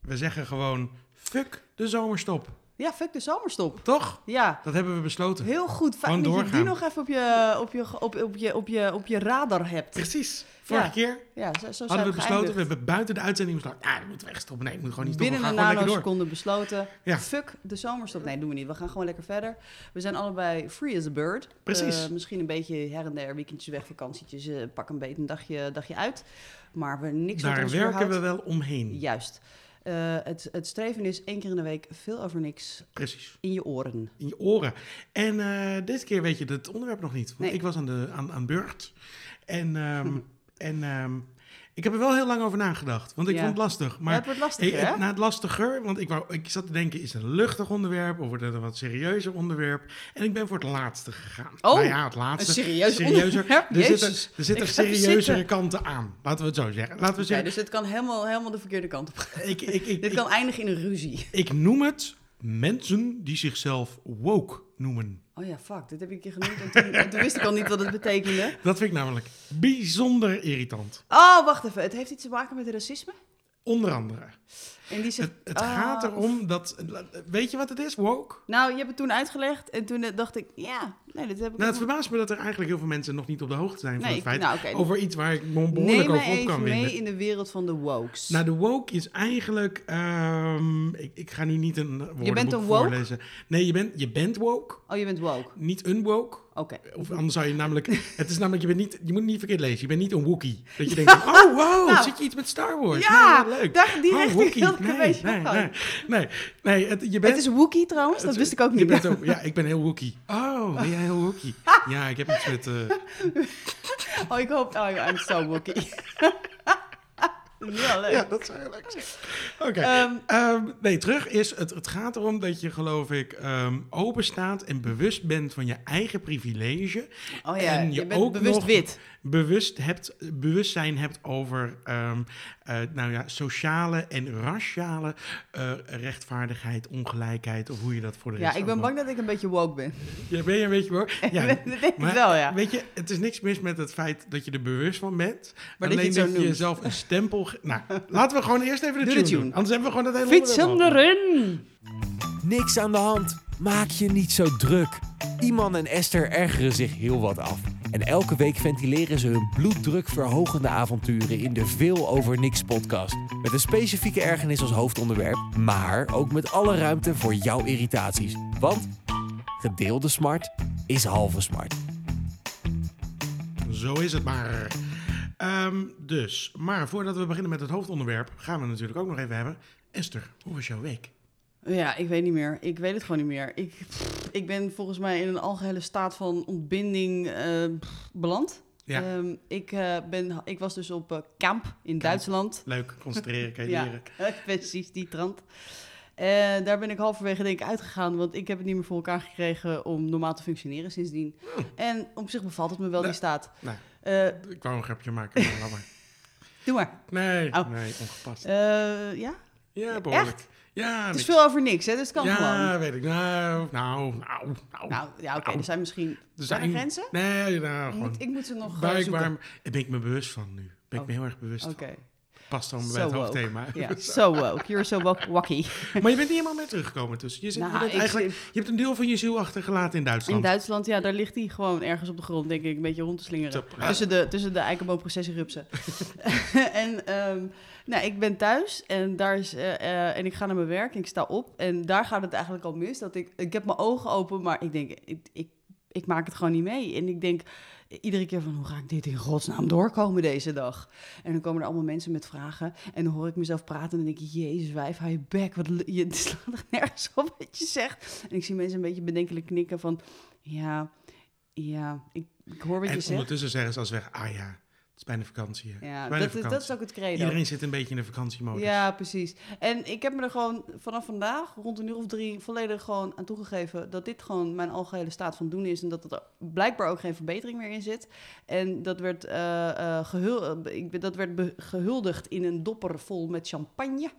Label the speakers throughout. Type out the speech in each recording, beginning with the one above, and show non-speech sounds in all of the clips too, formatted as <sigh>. Speaker 1: we zeggen gewoon, fuck de zomerstop.
Speaker 2: Ja, fuck de zomerstop.
Speaker 1: Toch?
Speaker 2: Ja,
Speaker 1: Dat hebben we besloten.
Speaker 2: heel goed. Fijn
Speaker 1: Gewoon
Speaker 2: dat je die
Speaker 1: doorgaan.
Speaker 2: nog even op je, op je, op, op je, op je, op je radar hebt.
Speaker 1: Precies. Vorige
Speaker 2: Ja,
Speaker 1: keer
Speaker 2: Ja, zo, zo zijn
Speaker 1: hadden we besloten, we
Speaker 2: geëindigd.
Speaker 1: hebben buiten de uitzending besloten, ja, dat moet wegstoppen. Nee, ik moet gewoon niet stoppen.
Speaker 2: Binnen
Speaker 1: We gaan
Speaker 2: een
Speaker 1: gewoon lekker door.
Speaker 2: nanoseconde besloten.
Speaker 1: Ja.
Speaker 2: Fuck de zomerstop. Nee, doen we niet. We gaan gewoon lekker verder. We zijn allebei free as a bird.
Speaker 1: Precies.
Speaker 2: Eh, misschien een beetje her en der, weekendjes weg, vakantietjes. eh, pak een beetje een dagje, dagje uit. Maar we niks wat
Speaker 1: Daar
Speaker 2: ons
Speaker 1: werken we
Speaker 2: weerhoudt.
Speaker 1: wel omheen.
Speaker 2: Juist. Eh, het, het streven is één keer in de week veel over niks
Speaker 1: Precies.
Speaker 2: in je oren.
Speaker 1: In je oren. En eh, deze keer weet je het onderwerp nog niet. Want
Speaker 2: Nee.
Speaker 1: ik was aan, de, aan, aan beurt. En,
Speaker 2: <laughs>
Speaker 1: ehm, en ehm, ik heb er wel heel lang over nagedacht. Want ik
Speaker 2: Ja.
Speaker 1: vond het lastig.
Speaker 2: Maar
Speaker 1: Maar
Speaker 2: het wordt
Speaker 1: Hey,
Speaker 2: lastiger,
Speaker 1: het-
Speaker 2: hè?
Speaker 1: nou, het lastiger, want ik, wou, ik zat te denken, is het een luchtig onderwerp of wordt het een wat serieuzer onderwerp? En ik ben voor het laatste gegaan.
Speaker 2: Oh,
Speaker 1: nou ja, het laatste.
Speaker 2: een serieus
Speaker 1: serieuzer.
Speaker 2: onderwerp?
Speaker 1: Er
Speaker 2: <laughs> Jezus,
Speaker 1: zitten, er zitten
Speaker 2: ik ga even
Speaker 1: serieuzere
Speaker 2: zitten.
Speaker 1: kanten aan, laten we het zo zeggen. Laten we
Speaker 2: Oké,
Speaker 1: zeggen
Speaker 2: dus het kan helemaal, helemaal de verkeerde kant op gaan.
Speaker 1: ik, ik, ik,
Speaker 2: Dit
Speaker 1: ik,
Speaker 2: kan eindigen in een ruzie.
Speaker 1: ik noem het mensen die zichzelf woke noemen.
Speaker 2: Oh ja, fuck, dit heb ik je genoemd en toen, en toen wist ik al niet wat het betekende.
Speaker 1: Dat vind ik namelijk bijzonder irritant.
Speaker 2: Oh, wacht even, het heeft iets te maken met racisme?
Speaker 1: Onder andere.
Speaker 2: En die zegt,
Speaker 1: Het, het
Speaker 2: ah.
Speaker 1: gaat erom dat... Weet je wat het is, woke?
Speaker 2: Nou, je hebt het toen uitgelegd en toen eh, dacht ik, ja, nee, dit heb ik...
Speaker 1: Nou, het
Speaker 2: ook nog-
Speaker 1: verbaast me dat er eigenlijk heel veel mensen nog niet op de hoogte zijn van
Speaker 2: nee,
Speaker 1: het
Speaker 2: ik-
Speaker 1: feit.
Speaker 2: nou, oké.
Speaker 1: Over iets waar ik me
Speaker 2: Neem
Speaker 1: behoorlijk
Speaker 2: mij
Speaker 1: over op
Speaker 2: even
Speaker 1: kan
Speaker 2: mee
Speaker 1: winden.
Speaker 2: in de wereld van de wokes.
Speaker 1: Nou, de woke is eigenlijk... ehm, ik, ik ga nu niet een woordenboek
Speaker 2: bent een woke?
Speaker 1: voorlezen. Nee, je bent, je bent woke.
Speaker 2: oh, je bent woke.
Speaker 1: Niet een woke.
Speaker 2: Oké.
Speaker 1: Of anders zou je
Speaker 2: <laughs>
Speaker 1: namelijk... Het is namelijk, je, bent niet, je moet het niet verkeerd lezen. Je bent niet een Wookie. Dat je denkt, van, oh wow,
Speaker 2: <laughs> Nou.
Speaker 1: zit je iets met Star Wars?
Speaker 2: Ja,
Speaker 1: Nee, wat leuk.
Speaker 2: daar- die
Speaker 1: oh,
Speaker 2: richting
Speaker 1: Wookie.
Speaker 2: wilde ik een
Speaker 1: nee,
Speaker 2: beetje
Speaker 1: nee,
Speaker 2: opgaan.
Speaker 1: nee, nee, nee, het, je bent...
Speaker 2: Het is Wookie trouwens, dat
Speaker 1: het-
Speaker 2: wist ik ook
Speaker 1: je
Speaker 2: niet.
Speaker 1: bent ook- ja, ik ben heel
Speaker 2: <laughs>
Speaker 1: Wookie. Oh, ben jij heel Wookie? Ja, ik heb iets met... eh,
Speaker 2: Oh, ik hoop, oh, I'm so <laughs> Wookie. ja, leuk.
Speaker 1: Ja, dat zou heel leuk zijn. Oké.
Speaker 2: Ehm,
Speaker 1: Ehm, nee, terug is, het, het gaat erom dat je, geloof ik, ehm open staat en bewust bent van je eigen privilege.
Speaker 2: oh ja,
Speaker 1: en
Speaker 2: je,
Speaker 1: je
Speaker 2: bent
Speaker 1: ook
Speaker 2: bewust
Speaker 1: nog-
Speaker 2: wit.
Speaker 1: Bewust hebt, bewustzijn hebt over ehm, eh, nou ja, sociale en raciale eh, rechtvaardigheid, ongelijkheid, of hoe je dat voor de
Speaker 2: Ja,
Speaker 1: rest
Speaker 2: ik ben
Speaker 1: ook
Speaker 2: bang dat ik een beetje woke ben.
Speaker 1: nog- Ja, ben je een beetje bang? Ja,
Speaker 2: dat denk <laughs> ik
Speaker 1: maar-
Speaker 2: wel, ja.
Speaker 1: Weet je, het is niks mis met het feit dat je er bewust van bent.
Speaker 2: Maar dat je
Speaker 1: alleen
Speaker 2: het zo
Speaker 1: dat je
Speaker 2: noemt.
Speaker 1: jezelf een stempel... ge- Nou, laten we gewoon eerst even de,
Speaker 2: Doe de
Speaker 1: tune,
Speaker 2: tune.
Speaker 1: doen. Anders hebben we gewoon het hele
Speaker 2: Fiets
Speaker 1: onderwerp al.
Speaker 2: erin!
Speaker 3: Niks aan de hand. Maak je niet zo druk. Iman en Esther ergeren zich heel wat af. En elke week ventileren ze hun bloeddrukverhogende avonturen in de Veel Over Niks podcast. Met een specifieke ergernis als hoofdonderwerp, maar ook met alle ruimte voor jouw irritaties. Want gedeelde smart is halve smart.
Speaker 1: Zo is het maar. Ehm, dus, maar voordat we beginnen met het hoofdonderwerp, gaan we natuurlijk ook nog even hebben. Esther, hoe was jouw week?
Speaker 2: Ja, ik weet niet meer. Ik weet het gewoon niet meer. Ik, pff, ik ben volgens mij in een algehele staat van ontbinding eh, pff, beland.
Speaker 1: Ja.
Speaker 2: Ehm, ik, eh, ben, ik was dus op eh, kamp in Duitsland.
Speaker 1: Leuk,
Speaker 2: <laughs>
Speaker 1: concentreren, kan je leren.
Speaker 2: Ja, precies, die trant. En daar ben ik halverwege denk ik uitgegaan, want ik heb het niet meer voor elkaar gekregen om normaal te functioneren sindsdien. En op zich bevalt het me wel, die
Speaker 1: Nou.
Speaker 2: staat.
Speaker 1: Nou,
Speaker 2: Eh,
Speaker 1: ik wou een grapje maken, maar laat
Speaker 2: <laughs>
Speaker 1: maar.
Speaker 2: doe maar.
Speaker 1: Nee,
Speaker 2: Oh.
Speaker 1: nee, ongepast.
Speaker 2: Eh, ja?
Speaker 1: ja, behoorlijk. Ja,
Speaker 2: Het is
Speaker 1: niks.
Speaker 2: veel over niks, hè? Dus het kan
Speaker 1: ja,
Speaker 2: gewoon.
Speaker 1: weet ik. Nou, nou, nou, nou.
Speaker 2: Nou, ja, oké,
Speaker 1: Au.
Speaker 2: er zijn misschien...
Speaker 1: Er
Speaker 2: zijn er grenzen?
Speaker 1: Nee, nou,
Speaker 2: Ik
Speaker 1: gewoon.
Speaker 2: moet, ik moet ze nog eh,
Speaker 1: waar, ik,
Speaker 2: zoeken.
Speaker 1: waar ben ik me bewust van nu? Ben ik me heel erg bewust
Speaker 2: Oké,
Speaker 1: van. Past dan bij
Speaker 2: so
Speaker 1: het
Speaker 2: woke.
Speaker 1: hoofdthema.
Speaker 2: Ja, so woke. You're so woke, wacky.
Speaker 1: <laughs> Maar je bent niet helemaal meer teruggekomen dus. Je, zit,
Speaker 2: Nou,
Speaker 1: je, bent
Speaker 2: ik
Speaker 1: eigenlijk, je hebt een deel van je ziel achtergelaten in
Speaker 2: In
Speaker 1: Duitsland.
Speaker 2: Duitsland, ja, daar ligt hij gewoon ergens op de grond, denk ik, een beetje rond te slingeren.
Speaker 1: Top.
Speaker 2: Tussen de, tussen de eikenboomprocessierupsen. <laughs> en ehm, nou, ik ben thuis en, daar is, eh, eh, en ik ga naar mijn werk en ik sta op. En daar gaat het eigenlijk al mis. Dat ik, ik heb mijn ogen open, maar ik denk, ik, ik, ik maak het gewoon niet mee. En ik denk iedere keer van, hoe ga ik dit in godsnaam doorkomen deze dag? En dan komen er allemaal mensen met vragen. En dan hoor ik mezelf praten en dan denk ik, jezus wijf, hou je bek. Wat, l- je <laughs> het slaat echt nergens op wat je zegt. En ik zie mensen een beetje bedenkelijk knikken van, ja, ja, ik, ik hoor wat je
Speaker 1: En
Speaker 2: zegt.
Speaker 1: ondertussen zeggen ze als weg, ah ja, het is bijna vakantie. hè.
Speaker 2: Ja,
Speaker 1: Het
Speaker 2: dat,
Speaker 1: is bijna
Speaker 2: is- dat
Speaker 1: vakantie.
Speaker 2: is ook het credo.
Speaker 1: Iedereen zit een beetje in de vakantiemodus.
Speaker 2: Ja, precies. En ik heb me er gewoon vanaf vandaag, rond een uur of drie, volledig gewoon aan toegegeven dat dit gewoon mijn algehele staat van doen is. En dat er blijkbaar ook geen verbetering meer in zit. En dat werd, eh, eh, gehul- eh, ik, ben- dat werd be- gehuldigd in een dopper vol met champagne.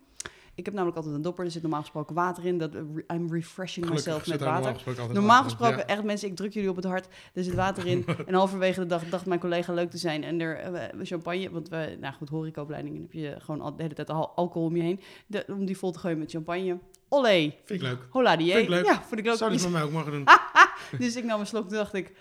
Speaker 2: Ik heb namelijk altijd een dopper, er zit normaal gesproken water in. Dat, eh, I'm refreshing myself
Speaker 1: zit
Speaker 2: met
Speaker 1: daar
Speaker 2: water.
Speaker 1: gesproken altijd
Speaker 2: Normaal
Speaker 1: water in.
Speaker 2: gesproken, echt mensen, ik druk jullie op het hart. Er zit water in.
Speaker 1: <laughs>
Speaker 2: en halverwege de dag dacht mijn collega leuk te zijn. En er eh, champagne, want we, nou goed, horecaopleidingen heb je gewoon al, de hele tijd al- alcohol om je heen. De- om die vol te gooien met champagne. Olé!
Speaker 1: Ja. Vind ik leuk.
Speaker 2: Hola die.
Speaker 1: Vind ik leuk.
Speaker 2: Ja, vond ik ook.
Speaker 1: Zou dit
Speaker 2: iets.
Speaker 1: met mij ook mogen doen?
Speaker 2: Dus ik nam een slok en toen dacht ik...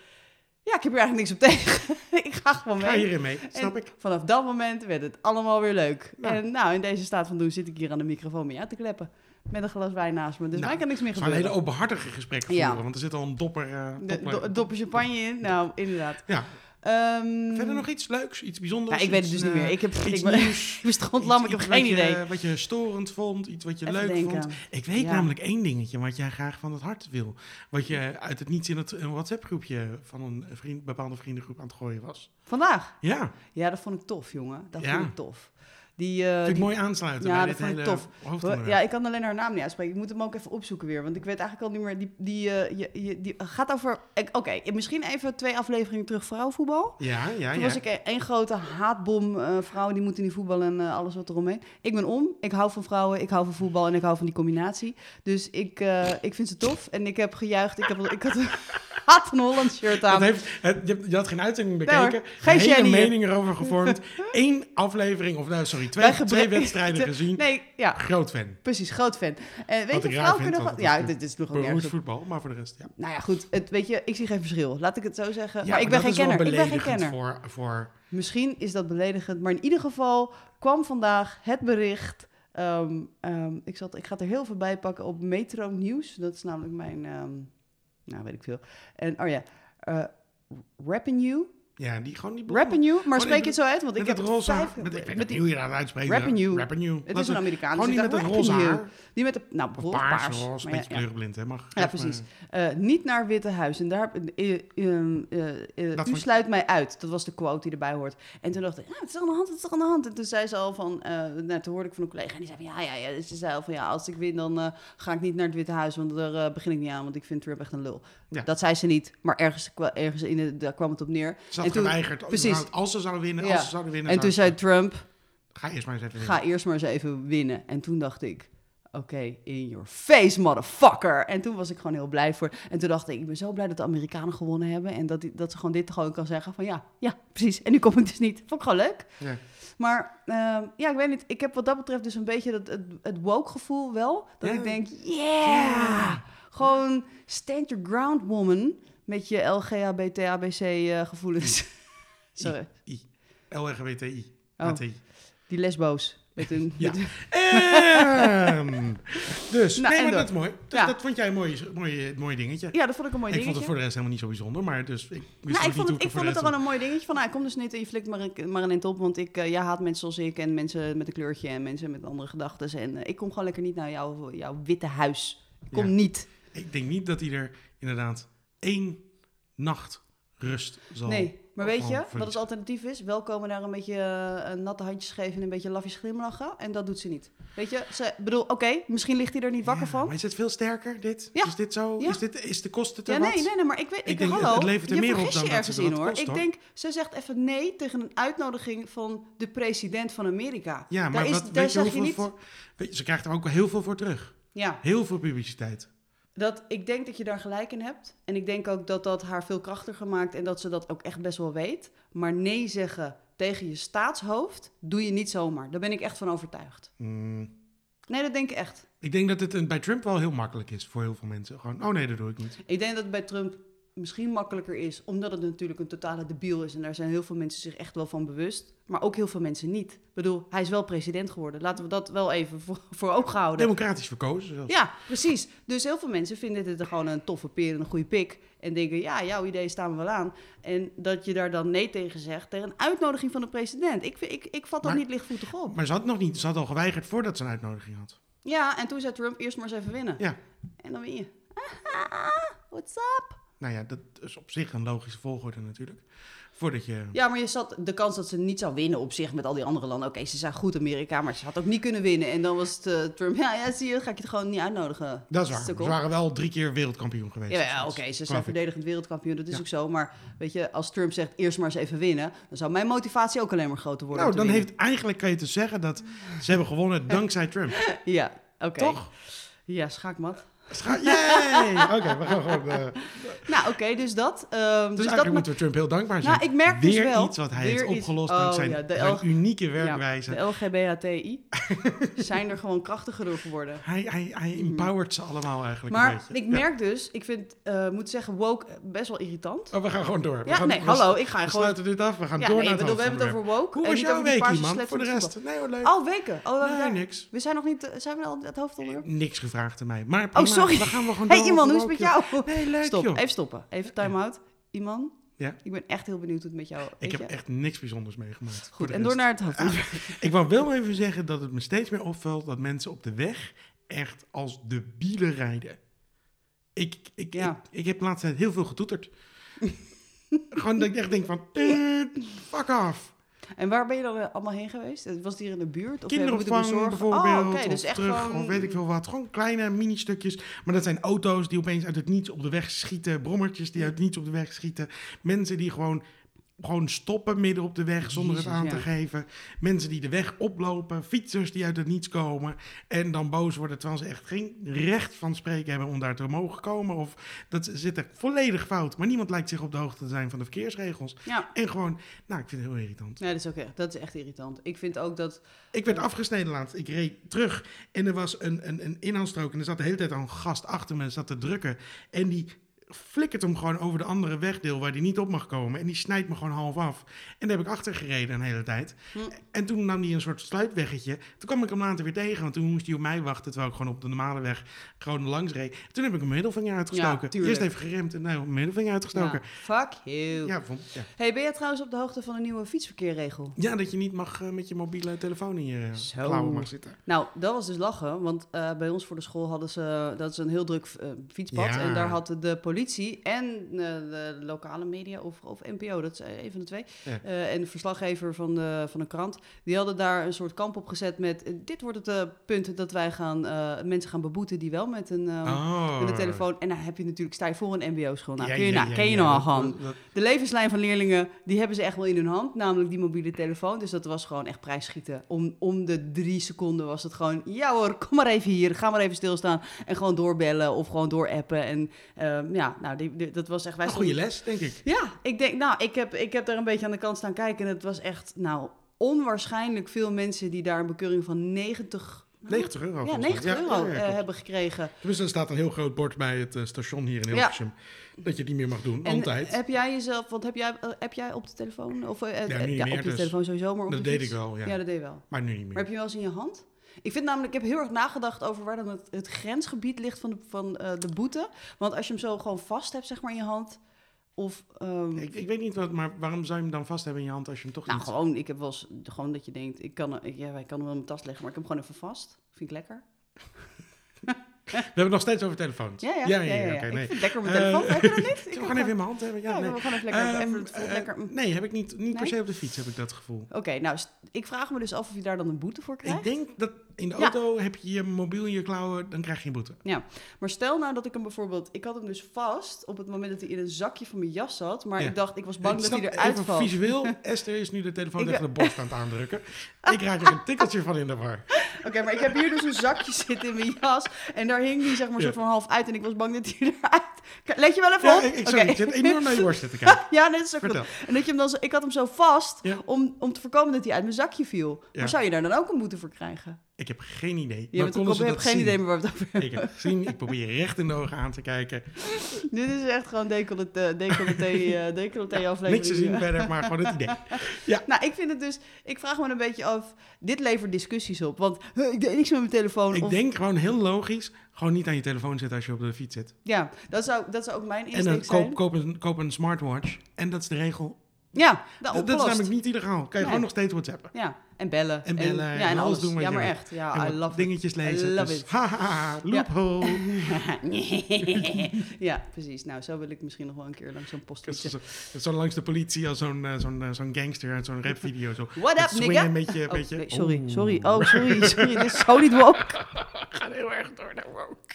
Speaker 2: Ja, ik heb hier eigenlijk niks op tegen. <laughs> ik ga gewoon
Speaker 1: Ga
Speaker 2: mee.
Speaker 1: hierin mee, snap
Speaker 2: En
Speaker 1: ik.
Speaker 2: Vanaf dat moment werd het allemaal weer leuk.
Speaker 1: Nou.
Speaker 2: En nou, in deze staat van doen zit ik hier aan de microfoon mee uit te kleppen. Met een glas wijn naast me. Dus
Speaker 1: Nou,
Speaker 2: mij kan niks meer
Speaker 1: We gaan een
Speaker 2: gebeuren.
Speaker 1: hele openhartige gesprekken
Speaker 2: Ja.
Speaker 1: voeren, want er zit al een dopper... eh,
Speaker 2: De-
Speaker 1: dopper-
Speaker 2: do- een dopje champagne in. Nou, inderdaad.
Speaker 1: Ja.
Speaker 2: Ehm,
Speaker 1: Verder nog iets leuks, iets bijzonders?
Speaker 2: nou, ik weet het
Speaker 1: iets,
Speaker 2: dus niet meer.
Speaker 1: eh,
Speaker 2: Ik heb
Speaker 1: iets
Speaker 2: ik ben-
Speaker 1: nieuws.
Speaker 2: <laughs> ik ben strandlam, ik
Speaker 1: Iets-
Speaker 2: heb
Speaker 1: iets eh,
Speaker 2: geen
Speaker 1: wat je-
Speaker 2: idee.
Speaker 1: wat je storend vond, iets wat je
Speaker 2: Even
Speaker 1: leuk
Speaker 2: denken.
Speaker 1: vond. Ik weet
Speaker 2: Ja.
Speaker 1: namelijk één dingetje wat jij graag van het hart wil. Wat je uit het niets in het een WhatsApp-groepje van een vriend, bepaalde vriendengroep aan het gooien was.
Speaker 2: Vandaag.
Speaker 1: Ja, vind
Speaker 2: Ja, dat vond ik tof, jongen. Dat
Speaker 1: Ja.
Speaker 2: vond ik tof. Die, eh,
Speaker 1: ik
Speaker 2: die-
Speaker 1: mooi aansluiten
Speaker 2: ja,
Speaker 1: bij
Speaker 2: dat
Speaker 1: dit
Speaker 2: vond ik
Speaker 1: hele
Speaker 2: tof.
Speaker 1: hoofdonderwerp.
Speaker 2: ja, ik kan alleen haar naam niet uitspreken. Ik moet hem ook even opzoeken weer. Want ik weet eigenlijk al niet meer. Die, die, eh, je- je- die gaat over. ik- Oké, misschien even twee afleveringen terug vrouwenvoetbal.
Speaker 1: ja, ja,
Speaker 2: Toen
Speaker 1: ja.
Speaker 2: was ik e- één grote haatbom. eh, vrouwen die moeten niet voetballen en eh, alles wat eromheen. Ik ben om. Ik hou van vrouwen. Ik hou van voetbal en ik hou van die combinatie. Dus ik, eh, ik vind ze tof. En ik heb gejuicht. Ik, heb, ik had, een- <laughs> had een Holland shirt
Speaker 1: Het
Speaker 2: aan.
Speaker 1: heeft, het- je, hebt- je had geen uitzending
Speaker 2: Nee hoor,
Speaker 1: bekeken.
Speaker 2: geen
Speaker 1: geen hele
Speaker 2: genie.
Speaker 1: mening erover gevormd. Eén aflevering, of nou sorry, twee,
Speaker 2: Bij gebrek-
Speaker 1: twee
Speaker 2: <laughs>
Speaker 1: wedstrijden gezien.
Speaker 2: Nee, ja.
Speaker 1: Groot fan.
Speaker 2: Precies, groot fan. Eh, weet
Speaker 1: Wat
Speaker 2: je,
Speaker 1: ik raar vind,
Speaker 2: vrouwen kunnen...
Speaker 1: want
Speaker 2: gewoon-
Speaker 1: het
Speaker 2: Ja,
Speaker 1: is
Speaker 2: dit dit sloeg ook nergens
Speaker 1: Beroerd
Speaker 2: op.
Speaker 1: voetbal, maar voor de rest, ja.
Speaker 2: Nou ja, goed. Het, weet je, ik zie geen verschil. Laat ik het zo zeggen. maar
Speaker 1: dat
Speaker 2: ik ben geen
Speaker 1: is wel
Speaker 2: kenner. Ik ben geen
Speaker 1: beledigend
Speaker 2: kenner.
Speaker 1: Voor, voor,
Speaker 2: Misschien is dat beledigend, maar in ieder geval kwam vandaag het bericht. ehm, ehm, ik, zat, ik ga het er heel veel bij pakken op Metro Nieuws. Dat is namelijk mijn, ehm, nou weet ik veel. En oh ja, eh revenue,
Speaker 1: ja, die gewoon niet
Speaker 2: revenue, maar
Speaker 1: ik bedoel-
Speaker 2: spreek je het zo uit? Want ik
Speaker 1: met
Speaker 2: heb
Speaker 1: het roze haar.
Speaker 2: vijf-
Speaker 1: Met, ik weet
Speaker 2: met
Speaker 1: niet hoe je dat uitspreekt.
Speaker 2: Revenue.
Speaker 1: Revenue.
Speaker 2: Het
Speaker 1: Dat
Speaker 2: is een Amerikaan.
Speaker 1: Gewoon
Speaker 2: dus
Speaker 1: niet
Speaker 2: ik
Speaker 1: met een
Speaker 2: dacht,
Speaker 1: roze
Speaker 2: revenue.
Speaker 1: haar.
Speaker 2: Die met de, nou,
Speaker 1: Of
Speaker 2: bijvoorbeeld
Speaker 1: paars,
Speaker 2: paars.
Speaker 1: roze, een
Speaker 2: maar
Speaker 1: beetje
Speaker 2: ja, ja.
Speaker 1: kleurenblind. Hè? Mag,
Speaker 2: Ja, precies. Eh, niet naar Witte Huis. En daar, eh, eh, eh, eh,
Speaker 1: Dat
Speaker 2: u
Speaker 1: vond-
Speaker 2: sluit mij uit. Dat was de quote die erbij hoort. En toen dacht ik, ja, het is toch aan de hand, het is toch aan de hand. En toen zei ze al van, eh nou, toen hoorde ik van een collega. En die zei van, ja, ja, ja. Dus ze zei al van, ja, als ik win, dan eh, ga ik niet naar het Witte Huis. Want daar eh, begin ik niet aan, want ik vind Trump echt een lul.
Speaker 1: Ja.
Speaker 2: Dat zei ze niet, maar ergens, kwa- ergens in de, daar kwam het op neer.
Speaker 1: Ze had
Speaker 2: en toen-
Speaker 1: geweigerd.
Speaker 2: precies.
Speaker 1: Precies. Als ze zouden winnen,
Speaker 2: Ja.
Speaker 1: als ze zouden winnen.
Speaker 2: En toen
Speaker 1: zou-
Speaker 2: zei Trump,
Speaker 1: Ga eerst maar eens even
Speaker 2: ga eerst maar eens even winnen. En toen dacht ik... Oké, in your face, motherfucker. En toen was ik gewoon heel blij voor. En toen dacht ik, ik ben zo blij dat de Amerikanen gewonnen hebben. En dat, die- dat ze gewoon dit gewoon kan zeggen van ja, ja, precies. En nu kom ik dus niet. Vond ik gewoon leuk.
Speaker 1: winnen.
Speaker 2: Maar ehm, ja, ik weet niet. Ik heb wat dat betreft dus een beetje dat, het, het woke gevoel wel. Dat
Speaker 1: Ja.
Speaker 2: ik denk, yeah!
Speaker 1: Ja.
Speaker 2: Gewoon stand your ground, woman. Met je LGHBT, ABC eh, gevoelens. <laughs> Sorry,
Speaker 1: I. LGBTI.
Speaker 2: Oh. <laughs>
Speaker 1: HTI.
Speaker 2: die lesbo's. Met hun,
Speaker 1: Ja.
Speaker 2: met hun-
Speaker 1: Ehm, Dus,
Speaker 2: Nou,
Speaker 1: nee,
Speaker 2: en
Speaker 1: maar
Speaker 2: door.
Speaker 1: dat is mooi. Dus
Speaker 2: Ja.
Speaker 1: dat vond jij een mooi, mooi, mooi dingetje.
Speaker 2: ja, dat vond ik een mooi
Speaker 1: Ik
Speaker 2: dingetje.
Speaker 1: vond het voor de rest helemaal niet zo bijzonder, maar dus ik wist
Speaker 2: Nou,
Speaker 1: ook
Speaker 2: ik
Speaker 1: niet
Speaker 2: vond
Speaker 1: hoe
Speaker 2: het,
Speaker 1: er
Speaker 2: ik
Speaker 1: voor
Speaker 2: vond
Speaker 1: de
Speaker 2: het
Speaker 1: rest
Speaker 2: al wel een mooi dingetje. Van, nou, kom dus niet en je flikt maar een, maar een end op. Want ik, eh, jij haat mensen zoals ik en mensen met een kleurtje en mensen met andere gedachten. En eh, ik kom gewoon lekker niet naar jouw, jouw witte huis. Ik Kom
Speaker 1: Ja.
Speaker 2: niet.
Speaker 1: Ik denk niet dat hij er inderdaad één nacht rust zal.
Speaker 2: Nee, maar
Speaker 1: of
Speaker 2: weet
Speaker 1: gewoon
Speaker 2: je wat
Speaker 1: verliezen.
Speaker 2: het alternatief is? Wel komen daar een beetje eh, een natte handjes geven en een beetje lafjes glimlachen. En dat doet ze niet. Weet je, ze bedoel, oké, misschien ligt hij er niet wakker
Speaker 1: Ja,
Speaker 2: van.
Speaker 1: Maar is het veel sterker, dit?
Speaker 2: Ja.
Speaker 1: Is dit zo?
Speaker 2: Ja.
Speaker 1: Is, dit, is de kosten te
Speaker 2: Ja,
Speaker 1: wat?
Speaker 2: nee, nee, nee, maar ik weet, ik,
Speaker 1: Ik denk,
Speaker 2: hallo,
Speaker 1: het levert er
Speaker 2: je
Speaker 1: meer op
Speaker 2: vergist
Speaker 1: dan
Speaker 2: je
Speaker 1: dat
Speaker 2: ergens
Speaker 1: het
Speaker 2: in
Speaker 1: wat
Speaker 2: hoor.
Speaker 1: kost,
Speaker 2: ik
Speaker 1: hoor.
Speaker 2: denk, ze zegt even nee tegen een uitnodiging van de president van Amerika.
Speaker 1: Ja, maar
Speaker 2: daar is,
Speaker 1: wat,
Speaker 2: daar
Speaker 1: weet je
Speaker 2: zeg
Speaker 1: hoeveel
Speaker 2: niet.
Speaker 1: voor... Weet je, ze krijgt er ook heel veel voor terug.
Speaker 2: Ja,
Speaker 1: Heel veel publiciteit.
Speaker 2: dat, ik denk dat je daar gelijk in hebt. En ik denk ook dat dat haar veel krachtiger maakt en dat ze dat ook echt best wel weet. Maar nee zeggen tegen je staatshoofd doe je niet zomaar. Daar ben ik echt van overtuigd.
Speaker 1: Hmm.
Speaker 2: Nee, dat denk ik echt.
Speaker 1: Ik denk dat het een- bij Trump wel heel makkelijk is voor heel veel mensen. Gewoon, oh nee, dat doe ik niet.
Speaker 2: Ik denk dat het bij Trump misschien makkelijker is, omdat het natuurlijk een totale debiel is. En daar zijn heel veel mensen zich echt wel van bewust, maar ook heel veel mensen niet. Ik bedoel, hij is wel president geworden. Laten we dat wel even voor, voor ogen houden.
Speaker 1: Democratisch verkozen zelfs.
Speaker 2: Ja, precies. Dus heel veel mensen vinden dit er gewoon een toffe peer en een goede pik. En denken, ja, jouw ideeën staan we wel aan. En dat je daar dan nee tegen zegt, tegen een uitnodiging van de president. Ik, vind- ik, ik vat dat
Speaker 1: Maar-
Speaker 2: niet lichtvoetig op.
Speaker 1: Maar ze had nog niet, ze had al geweigerd voordat ze een uitnodiging had.
Speaker 2: Ja, en toen zei Trump, eerst maar eens even winnen.
Speaker 1: Ja.
Speaker 2: En dan win je. <laughs> Haha, what's up?
Speaker 1: Nou ja, dat is op zich een logische volgorde natuurlijk. Voordat je...
Speaker 2: Ja, maar je zat de kans dat ze niet zou winnen op zich met al die andere landen. Oké, ze zijn goed Amerika, maar ze had ook niet kunnen winnen. En dan was het eh, Trump. <laughs> Ja, ja, zie je, ga ik je er gewoon niet uitnodigen.
Speaker 1: Dat is waar.
Speaker 2: Sukkel.
Speaker 1: Ze waren wel drie keer wereldkampioen geweest.
Speaker 2: Ja,
Speaker 1: of
Speaker 2: ja,
Speaker 1: zoiets.
Speaker 2: oké, ze
Speaker 1: Geloof
Speaker 2: zijn
Speaker 1: ik.
Speaker 2: verdedigend wereldkampioen, dat is
Speaker 1: Ja.
Speaker 2: ook zo. Maar weet je, als Trump zegt eerst maar eens even winnen, dan zou mijn motivatie ook alleen maar groter worden.
Speaker 1: Nou,
Speaker 2: om
Speaker 1: dan
Speaker 2: te
Speaker 1: heeft eigenlijk kan je te zeggen dat ze hebben gewonnen dankzij Trump.
Speaker 2: winnen. Ja, oké.
Speaker 1: Toch?
Speaker 2: Ja, schaakmat.
Speaker 1: Scha- Yay!
Speaker 2: <laughs>
Speaker 1: Oké, we gaan gewoon. eh,
Speaker 2: Nou, oké, dus dat. ehm,
Speaker 1: dus,
Speaker 2: dus
Speaker 1: eigenlijk
Speaker 2: dat ma-
Speaker 1: moeten we Trump heel dankbaar zijn.
Speaker 2: nou, ik merk
Speaker 1: Weer
Speaker 2: dus wel.
Speaker 1: iets wat hij
Speaker 2: weer
Speaker 1: heeft
Speaker 2: iets-
Speaker 1: opgelost
Speaker 2: Oh,
Speaker 1: dankzij
Speaker 2: ja, de
Speaker 1: zijn
Speaker 2: L-
Speaker 1: unieke
Speaker 2: ja,
Speaker 1: werkwijze.
Speaker 2: de LGBTI
Speaker 1: <laughs>
Speaker 2: zijn er gewoon krachtiger door geworden.
Speaker 1: Hij, hij, hij empowert ze allemaal eigenlijk een
Speaker 2: Mm. Maar
Speaker 1: beetje.
Speaker 2: ik merk dus, ik vind, eh, moet zeggen, woke eh, best wel irritant.
Speaker 1: Oh, we gaan gewoon door. We
Speaker 2: ja,
Speaker 1: gaan-
Speaker 2: nee,
Speaker 1: we-
Speaker 2: hallo, ik ga
Speaker 1: We
Speaker 2: gewoon...
Speaker 1: sluiten dit af. We gaan
Speaker 2: Ja,
Speaker 1: door
Speaker 2: nee,
Speaker 1: naar
Speaker 2: ik
Speaker 1: het
Speaker 2: bedoel, we hebben het
Speaker 1: hoofdonderwerp.
Speaker 2: over woke.
Speaker 1: Hoe
Speaker 2: en
Speaker 1: was
Speaker 2: niet
Speaker 1: jouw
Speaker 2: over die
Speaker 1: week,
Speaker 2: paarse
Speaker 1: man?
Speaker 2: slechte
Speaker 1: Voor de
Speaker 2: voetbal.
Speaker 1: rest? Nee, hoor, leuk.
Speaker 2: Oh, weken. Oh, we,
Speaker 1: nee,
Speaker 2: daar-
Speaker 1: niks.
Speaker 2: we zijn nog niet, eh, zijn we al het hoofdonderwerp?
Speaker 1: Niks gevraagd aan mij. Maar
Speaker 2: Oh,
Speaker 1: prima,
Speaker 2: sorry.
Speaker 1: Dan gaan we gewoon
Speaker 2: Hé,
Speaker 1: door
Speaker 2: hey, Iman,
Speaker 1: over
Speaker 2: hoe is het met jou?
Speaker 1: <laughs> welke- Nee, leuk,
Speaker 2: Stop,
Speaker 1: joh.
Speaker 2: even stoppen. Even time-out. Iman,
Speaker 1: Ja?
Speaker 2: ik ben echt heel benieuwd hoe het met jou
Speaker 1: Ik
Speaker 2: weet
Speaker 1: heb
Speaker 2: je?
Speaker 1: echt Ah. niks bijzonders meegemaakt. Voor
Speaker 2: Goed,
Speaker 1: de
Speaker 2: en
Speaker 1: rest.
Speaker 2: door naar het hoofdonderwerp.
Speaker 1: Ik wou wel even zeggen dat het me steeds meer opvalt dat mensen op de weg echt als de bielen rijden. Ik, ik,
Speaker 2: Ja.
Speaker 1: ik, ik heb de laatste tijd heel veel
Speaker 2: <laughs>
Speaker 1: getoeterd. Gewoon dat ik echt denk van, eh, fuck off.
Speaker 2: En waar ben je dan eh, allemaal heen geweest? Was het hier in de buurt? Of
Speaker 1: Kinderopvang
Speaker 2: hebben we moeten bezorgen?
Speaker 1: bijvoorbeeld,
Speaker 2: Oh, oké, dus
Speaker 1: of
Speaker 2: echt
Speaker 1: terug,
Speaker 2: gewoon...
Speaker 1: of weet ik veel wat. Gewoon kleine mini-stukjes. Maar dat zijn auto's die opeens uit het niets op de weg schieten. Brommertjes die uit het niets op de weg schieten. Mensen die gewoon, gewoon stoppen midden op de weg zonder het
Speaker 2: Jezus,
Speaker 1: aan
Speaker 2: ja.
Speaker 1: te geven. Mensen die de weg oplopen. Fietsers die uit het niets komen. En dan boos worden terwijl ze echt geen recht van spreken hebben om daar te mogen komen. Of dat zit er volledig fout. Maar niemand lijkt zich op de hoogte te zijn van de verkeersregels.
Speaker 2: Ja.
Speaker 1: En gewoon, nou, ik vind het heel irritant.
Speaker 2: Nee, dat is, ook echt, dat is echt irritant. Ik vind ook dat...
Speaker 1: Ik werd afgesneden laatst. Ik reed terug en er was een, een, een inhaalstrook. En er zat de hele tijd al een gast achter me en zat te drukken. En die flikkert hem gewoon over de andere wegdeel waar die niet op mag komen. En die snijdt me gewoon half af. En daar heb ik achter gereden een hele tijd.
Speaker 2: Hm.
Speaker 1: En toen nam hij een soort sluitweggetje. Toen kwam ik hem later weer tegen, want toen moest hij op mij wachten... terwijl ik gewoon op de normale weg gewoon langs reed. Toen heb ik hem middelvinger uitgestoken.
Speaker 2: tuurlijk.
Speaker 1: Eerst even geremd en nou, middelvinger uitgestoken.
Speaker 2: Ja, fuck you.
Speaker 1: Ja. vond- ja.
Speaker 2: Hey, ben jij trouwens op de hoogte van de nieuwe fietsverkeerregel?
Speaker 1: Ja, dat je niet mag eh, met je mobiele telefoon in je eh,
Speaker 2: Zo.
Speaker 1: klauwen mag zitten.
Speaker 2: Nou, dat was dus lachen, want eh, bij ons voor de school hadden ze dat is een heel druk eh, fietspad.
Speaker 1: Ja.
Speaker 2: En daar had de politie en eh, de lokale media of, of NPO, dat is eh, een van de twee.
Speaker 1: Ja.
Speaker 2: eh, en de verslaggever van, de, van een krant, die hadden daar een soort kamp op gezet met eh, dit wordt het eh, punt dat wij gaan, eh, mensen gaan beboeten die wel met een, eh,
Speaker 1: Oh.
Speaker 2: met een telefoon. En dan heb je natuurlijk, sta je voor een mbo-school. Nou,
Speaker 1: Ja,
Speaker 2: kun je,
Speaker 1: ja,
Speaker 2: nou,
Speaker 1: ja,
Speaker 2: ken je
Speaker 1: ja,
Speaker 2: nou al
Speaker 1: dat-
Speaker 2: gaan.
Speaker 1: dat- dat-
Speaker 2: De levenslijn van leerlingen, die hebben ze echt wel in hun hand, namelijk die mobiele telefoon. Dus dat was gewoon echt prijsschieten. Om, om de drie seconden was het gewoon, ja hoor, kom maar even hier, ga maar even stilstaan. En gewoon doorbellen of gewoon doorappen. En ehm, ja, nou, die, die- dat was echt... Wij
Speaker 1: Een goede
Speaker 2: stonden-
Speaker 1: les, denk ik.
Speaker 2: Ja, ik denk, nou, ik heb, ik heb daar een beetje aan de kant staan kijken. En het was echt, nou, onwaarschijnlijk veel mensen die daar een bekeuring van 90...
Speaker 1: 90 euro.
Speaker 2: Ja,
Speaker 1: Oh, volgens mij.
Speaker 2: 90
Speaker 1: ja,
Speaker 2: euro
Speaker 1: ja,
Speaker 2: eh,
Speaker 1: klopt.
Speaker 2: hebben gekregen.
Speaker 1: Tenminste, er staat een heel groot bord bij het eh, station hier in Hilversum. Dat je die meer mag doen,
Speaker 2: En eh,
Speaker 1: altijd.
Speaker 2: heb jij jezelf, want heb jij, eh, heb jij op de telefoon? Of, eh, eh,
Speaker 1: Ja, nu niet
Speaker 2: ja,
Speaker 1: meer,
Speaker 2: op de
Speaker 1: dus
Speaker 2: telefoon sowieso, maar op
Speaker 1: dat
Speaker 2: de
Speaker 1: deed
Speaker 2: fiets?
Speaker 1: ik wel, ja.
Speaker 2: Ja, dat deed je wel.
Speaker 1: Maar nu niet
Speaker 2: Maar heb
Speaker 1: meer.
Speaker 2: je wel eens in je hand? Ik vind namelijk, ik heb heel erg nagedacht over waar dan het, het grensgebied ligt van, de, van eh, de boete. Want als je hem zo gewoon vast hebt, zeg maar, in je hand. Of, ehm,
Speaker 1: Ik, ik weet niet, wat, maar waarom zou je hem dan vast hebben in je hand als je hem toch
Speaker 2: nou,
Speaker 1: niet...
Speaker 2: gewoon, ik heb wel eens, gewoon dat je denkt, ik kan, ik, ja, ik kan hem wel in mijn tas leggen, maar ik heb hem gewoon even vast. Vind ik lekker.
Speaker 1: We hebben het nog steeds over telefoons.
Speaker 2: Ja, ja,
Speaker 1: ja,
Speaker 2: ja, ja.
Speaker 1: oké,
Speaker 2: Ik
Speaker 1: nee.
Speaker 2: vind het lekker op mijn
Speaker 1: Eh,
Speaker 2: telefoon. Heb
Speaker 1: <laughs>
Speaker 2: je dat niet? Ik
Speaker 1: Zullen
Speaker 2: heb
Speaker 1: we gewoon even in mijn hand hebben?
Speaker 2: Ja,
Speaker 1: Ja, nee.
Speaker 2: ik wil gewoon even lekker,
Speaker 1: Ehm,
Speaker 2: even, het voelt
Speaker 1: eh,
Speaker 2: lekker. mm.
Speaker 1: Nee, heb ik niet, niet per
Speaker 2: Nee?
Speaker 1: se op de fiets, heb ik dat gevoel.
Speaker 2: Oké, nou, st- ik vraag me dus af of je daar dan een boete voor krijgt.
Speaker 1: Ik denk dat in de
Speaker 2: Ja.
Speaker 1: auto heb je je mobiel in je klauwen, dan krijg je een boete.
Speaker 2: Ja, maar stel nou dat ik hem bijvoorbeeld... Ik had hem dus vast op het moment dat hij in een zakje van mijn jas zat. Maar
Speaker 1: Ja.
Speaker 2: ik dacht, ik was bang
Speaker 1: Ik
Speaker 2: dat hij
Speaker 1: snap
Speaker 2: eruit
Speaker 1: even
Speaker 2: valt. <laughs>
Speaker 1: visueel, Esther is nu de telefoon
Speaker 2: Ik-
Speaker 1: tegen de borst aan het
Speaker 2: <laughs>
Speaker 1: aandrukken. Ik raak er een tikkeltje van in de war.
Speaker 2: Oké, maar ik heb hier dus een zakje <laughs> zitten in mijn jas. En daar hing die zeg maar
Speaker 1: Ja.
Speaker 2: soort van half uit. En ik was bang dat hij <laughs> eruit... K- Let je wel even
Speaker 1: Ja,
Speaker 2: op?
Speaker 1: ik, ik,
Speaker 2: Oké.
Speaker 1: sorry, ik zit enorm naar je worst te kijken.
Speaker 2: <laughs> Ja, nee, dat is ook
Speaker 1: Vertel.
Speaker 2: goed. En dat je hem dan zo, ik had hem zo vast
Speaker 1: Ja.
Speaker 2: om, om te voorkomen dat hij uit mijn zakje viel.
Speaker 1: Ja.
Speaker 2: Maar zou je daar dan ook een boete voor krijgen?
Speaker 1: Ik heb geen idee.
Speaker 2: Je hebt,
Speaker 1: konden
Speaker 2: ik
Speaker 1: ze
Speaker 2: heb
Speaker 1: dat
Speaker 2: geen
Speaker 1: zien?
Speaker 2: idee meer waar we het over <laughs> hebben.
Speaker 1: Ik heb het gezien, ik probeer je recht in de ogen aan te kijken.
Speaker 2: Dit is echt gewoon decolleté, decolleté, eh, decolleté aflevering.
Speaker 1: Niks te zien verder, maar gewoon het
Speaker 2: <laughs>
Speaker 1: idee.
Speaker 2: Nou, ik vind het dus... Ik vraag me een beetje af... Dit levert discussies op. Want huh, ik deed niks met mijn telefoon.
Speaker 1: Ik
Speaker 2: of-
Speaker 1: denk gewoon heel logisch, gewoon niet aan je telefoon zitten als je op de fiets zit.
Speaker 2: Ja, dat zou, dat zou ook mijn
Speaker 1: En
Speaker 2: insteek
Speaker 1: dan
Speaker 2: zijn.
Speaker 1: koop, koop, een, koop een smartwatch en dat is de regel.
Speaker 2: Ja, dat
Speaker 1: Dat,
Speaker 2: opgelost.
Speaker 1: dat is namelijk niet illegaal. Kan je
Speaker 2: Nee.
Speaker 1: gewoon nog steeds whatsappen.
Speaker 2: Ja, en bellen.
Speaker 1: En bellen en
Speaker 2: ja, en
Speaker 1: alles
Speaker 2: alles.
Speaker 1: doen wat
Speaker 2: ja,
Speaker 1: je
Speaker 2: maar
Speaker 1: wil.
Speaker 2: echt.
Speaker 1: En
Speaker 2: Ja, Ah, I
Speaker 1: wat
Speaker 2: love it.
Speaker 1: dingetjes lezen.
Speaker 2: I love
Speaker 1: dus,
Speaker 2: it. <laughs>
Speaker 1: haha, loophole.
Speaker 2: ja, precies. Nou, zo wil ik misschien nog wel een keer langs zo'n post
Speaker 1: Dat is
Speaker 2: fietsen.
Speaker 1: zo- dat is Zo langs de politie als zo'n eh, zo'n eh, zo'n gangster uit zo'n rapvideo. Zo.
Speaker 2: What
Speaker 1: Met
Speaker 2: up,
Speaker 1: swingen,
Speaker 2: nigga?
Speaker 1: Een beetje, een
Speaker 2: Oh,
Speaker 1: beetje.
Speaker 2: nee, sorry,
Speaker 3: Oeh.
Speaker 2: sorry. Oh, sorry, sorry. Dit is zo niet
Speaker 1: <laughs>
Speaker 2: woke.
Speaker 1: Gaat heel erg door naar woke.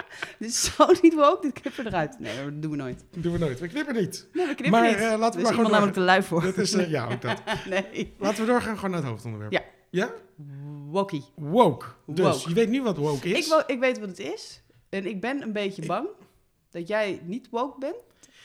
Speaker 2: <laughs> Dit is zo niet woke. Dit knippen we eruit. Nee, dat doen we nooit.
Speaker 1: Dat Oh, doen we nooit. We knippen niet.
Speaker 2: Nee, we Nou, knippen
Speaker 1: Maar,
Speaker 2: niet.
Speaker 1: eh, laten we maar
Speaker 2: Er is
Speaker 1: gewoon
Speaker 2: iemand namelijk te lui voor.
Speaker 1: Dat is, eh, ja, ook
Speaker 2: <laughs>
Speaker 1: dat.
Speaker 2: nee.
Speaker 1: Laten we doorgaan gewoon naar het hoofdonderwerp.
Speaker 2: Ja.
Speaker 1: Ja?
Speaker 2: Wokkie.
Speaker 1: Woke. Dus
Speaker 2: Woke.
Speaker 1: je weet nu wat woke is.
Speaker 2: Ik, wo- ik weet wat het is. En ik ben een beetje bang dat jij niet woke bent.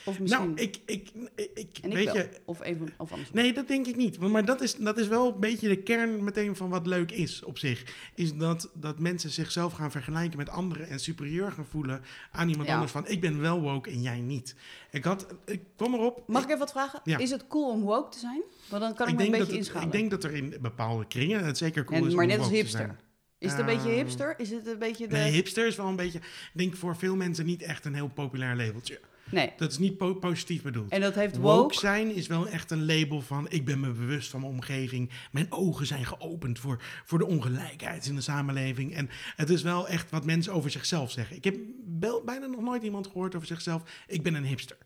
Speaker 2: Of misschien...
Speaker 1: nou, ik, ik, ik, ik-
Speaker 2: en ik
Speaker 1: weet
Speaker 2: wel.
Speaker 1: je...
Speaker 2: Of, een, van- of andersom.
Speaker 1: Nee, dat denk ik niet. Want- Maar dat is, dat is wel een beetje de kern meteen van wat leuk is op zich. Is dat, dat mensen zichzelf gaan vergelijken met anderen en superieur gaan voelen aan iemand
Speaker 2: Ja.
Speaker 1: anders. Van ik ben wel woke en jij niet. Ik had, ik kwam erop.
Speaker 2: Mag ik even wat vragen?
Speaker 1: Ja.
Speaker 2: Is het cool om woke te zijn? Want dan kan ik, me
Speaker 1: denk
Speaker 2: een beetje
Speaker 1: dat het-
Speaker 2: inschalen.
Speaker 1: Ik denk dat er in bepaalde kringen het zeker cool
Speaker 2: En-
Speaker 1: is
Speaker 2: maar
Speaker 1: om
Speaker 2: net als
Speaker 1: woke te
Speaker 2: hipster.
Speaker 1: zijn.
Speaker 2: Is het een beetje
Speaker 1: Ehm,
Speaker 2: hipster? Is het een beetje de...
Speaker 1: Nee, hipster is wel een beetje, ik denk voor veel mensen niet echt een heel populair labeltje.
Speaker 2: Nee.
Speaker 1: Dat is niet po- positief bedoeld.
Speaker 2: En dat heeft
Speaker 1: woke?
Speaker 2: woke...
Speaker 1: zijn is wel echt een label van ik ben me bewust van mijn omgeving. Mijn ogen zijn geopend voor, voor de ongelijkheid in de samenleving. En het is wel echt wat mensen over zichzelf zeggen. Ik heb wel bijna nog nooit iemand gehoord over zichzelf. Ik ben een hipster.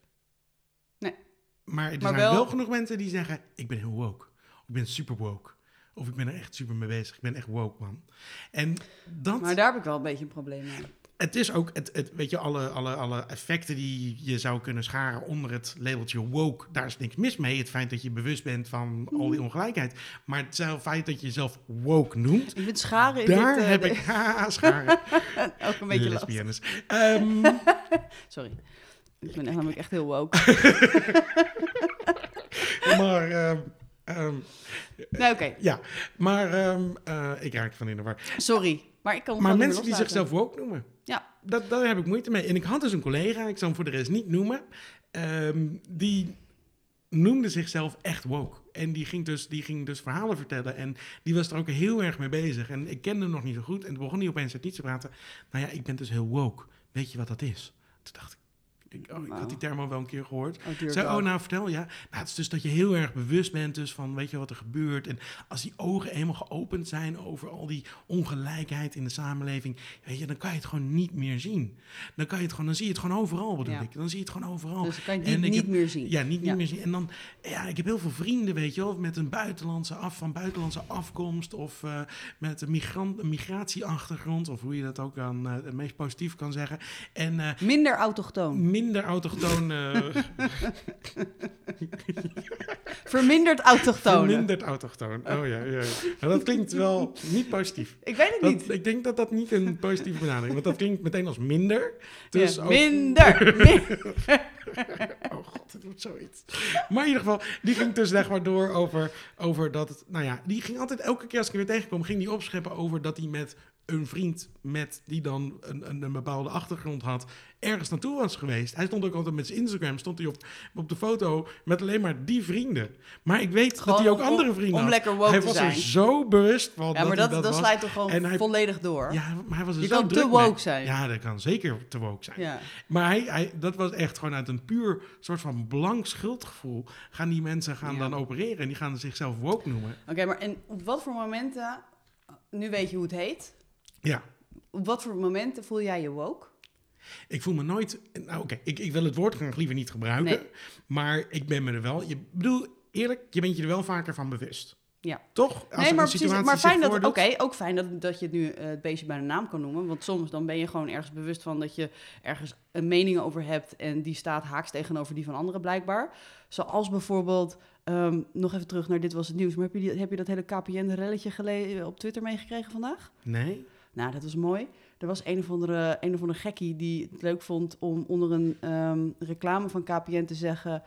Speaker 2: Nee.
Speaker 1: Maar er
Speaker 2: Maar
Speaker 1: zijn wel...
Speaker 2: wel-
Speaker 1: genoeg mensen die zeggen ik ben heel woke. Of ik ben super woke. Of ik ben er echt super mee bezig. Ik ben echt woke man. En dat...
Speaker 2: Maar daar heb ik wel een beetje een probleem mee.
Speaker 1: Het is ook, het, het, weet je, alle, alle, alle effecten die je zou kunnen scharen onder het labeltje woke, daar is niks mis mee. Het feit dat je bewust bent van al
Speaker 2: Mm.
Speaker 1: die ongelijkheid. Maar het zelf- feit dat je jezelf woke noemt,
Speaker 2: Ik vind scharen in
Speaker 1: daar
Speaker 2: <laughs> dit, eh,
Speaker 1: heb
Speaker 2: de-
Speaker 1: ik <laughs> haha, scharen.
Speaker 2: ook <laughs> een beetje last.
Speaker 1: lesbiennes. Ehm,
Speaker 2: Sorry. Ik ben echt namelijk echt heel woke.
Speaker 1: <laughs> maar, ehm, ehm,
Speaker 2: nee, oké.
Speaker 1: ja, maar ehm, eh, ik raak van in de war.
Speaker 2: Sorry. Maar ik kan het
Speaker 1: Maar
Speaker 2: gewoon niet
Speaker 1: mensen die
Speaker 2: meer
Speaker 1: zichzelf
Speaker 2: loslaten.
Speaker 1: woke noemen.
Speaker 2: Ja.
Speaker 1: Dat, daar heb ik moeite mee. En ik had dus een collega, ik zal hem voor de rest niet noemen, ehm, die noemde zichzelf echt woke. En die ging, dus, die ging dus verhalen vertellen. En die was er ook heel erg mee bezig. En ik kende hem nog niet zo goed. En toen begon hij opeens uit niets te praten. Nou ja, ik ben dus heel woke. Weet je wat dat is? Toen dacht ik, ik, oh, ik had die
Speaker 2: Nou.
Speaker 1: term al wel een keer gehoord.
Speaker 2: Oh, duur
Speaker 1: Zei,
Speaker 2: wel.
Speaker 1: oh, nou vertel ja. Nou, het is dus dat je heel erg bewust bent dus van weet je wat er gebeurt. En als die ogen eenmaal geopend zijn over al die ongelijkheid in de samenleving, weet je, dan kan je het gewoon niet meer zien. Dan kan je het gewoon, dan zie je het gewoon overal bedoel
Speaker 2: Ja.
Speaker 1: ik. Dan zie je het gewoon overal.
Speaker 2: Dus dan kan je
Speaker 1: Oh, En
Speaker 2: het
Speaker 1: ik
Speaker 2: niet
Speaker 1: heb-
Speaker 2: meer zien.
Speaker 1: Ja, niet, niet
Speaker 2: Ja.
Speaker 1: meer zien. En dan, ja, ik heb heel veel vrienden, weet je wel, met een buitenlandse af, van buitenlandse afkomst of eh, met een, migrant, een migratieachtergrond, of hoe je dat ook dan eh, het meest positief kan zeggen. En eh,
Speaker 2: Minder autochtoon.
Speaker 1: minder autochtoon
Speaker 2: <laughs>
Speaker 1: eh,
Speaker 2: Verminderd autochtoon.
Speaker 1: Verminderd autochtoon. Oh ja, ja, ja. Nou, dat klinkt wel niet positief.
Speaker 2: Ik weet het <laughs> niet.
Speaker 1: Dat, ik denk dat dat niet een positieve benadering is, want dat klinkt meteen als minder. Dus
Speaker 2: Ja,
Speaker 1: ook- <laughs>
Speaker 2: Minder. Min-
Speaker 1: oh god, het wordt zoiets. Maar in ieder geval, die ging dus zeg maar door over, over dat het, nou ja, die ging altijd elke keer als ik hem weer tegenkwam, ging die opscheppen over dat hij met een vriend met die dan een, een, een bepaalde achtergrond had, ergens naartoe was geweest. Hij stond ook altijd met zijn Instagram, stond hij op, op de foto met alleen maar die vrienden. Maar ik weet dat
Speaker 2: Gewoon
Speaker 1: hij ook
Speaker 2: om-
Speaker 1: andere vrienden
Speaker 2: om
Speaker 1: had.
Speaker 2: lekker woke
Speaker 1: hij
Speaker 2: te
Speaker 1: was er
Speaker 2: zijn.
Speaker 1: zo bewust van
Speaker 2: Ja, maar
Speaker 1: hij
Speaker 2: dat, dat,
Speaker 1: was.
Speaker 2: slijt toch gewoon
Speaker 1: En hij-
Speaker 2: volledig door.
Speaker 1: Ja, maar hij was er
Speaker 2: Je
Speaker 1: zo
Speaker 2: kan te
Speaker 1: druk
Speaker 2: woke
Speaker 1: mee.
Speaker 2: zijn.
Speaker 1: Ja, dat kan zeker te woke zijn.
Speaker 2: Ja.
Speaker 1: Maar hij, hij, dat was echt gewoon uit een puur soort van blank schuldgevoel. Gaan die mensen gaan
Speaker 2: Ja.
Speaker 1: dan opereren en die gaan zichzelf woke noemen.
Speaker 2: Oké, maar en op wat voor momenten, nu weet je hoe het heet,
Speaker 1: Ja,
Speaker 2: op wat voor momenten voel jij je woke?
Speaker 1: ik voel me nooit. Nou, oké, ik, ik wil het woord graag liever niet gebruiken.
Speaker 2: Nee.
Speaker 1: Maar ik ben me er wel. Je ik bedoel, eerlijk, je bent je er wel vaker van bewust.
Speaker 2: Ja.
Speaker 1: Toch? Als
Speaker 2: nee,
Speaker 1: er
Speaker 2: maar
Speaker 1: een
Speaker 2: precies.
Speaker 1: situatie
Speaker 2: Maar
Speaker 1: zich
Speaker 2: fijn dat, oké,
Speaker 1: voordoet-
Speaker 2: ook fijn dat, dat je het nu eh, het beestje bij de naam kan noemen. Want soms dan ben je gewoon ergens bewust van dat je ergens een mening over hebt. En die staat haaks tegenover die van anderen blijkbaar. Zoals bijvoorbeeld, ehm, nog even terug naar dit was het nieuws. Maar heb je, die- heb je dat hele KPN-relletje gele- op Twitter meegekregen vandaag?
Speaker 1: Nee.
Speaker 2: Nou, dat was mooi. Er was een of andere, een of andere gekkie die het leuk vond om onder een ehm, reclame van KPN te zeggen...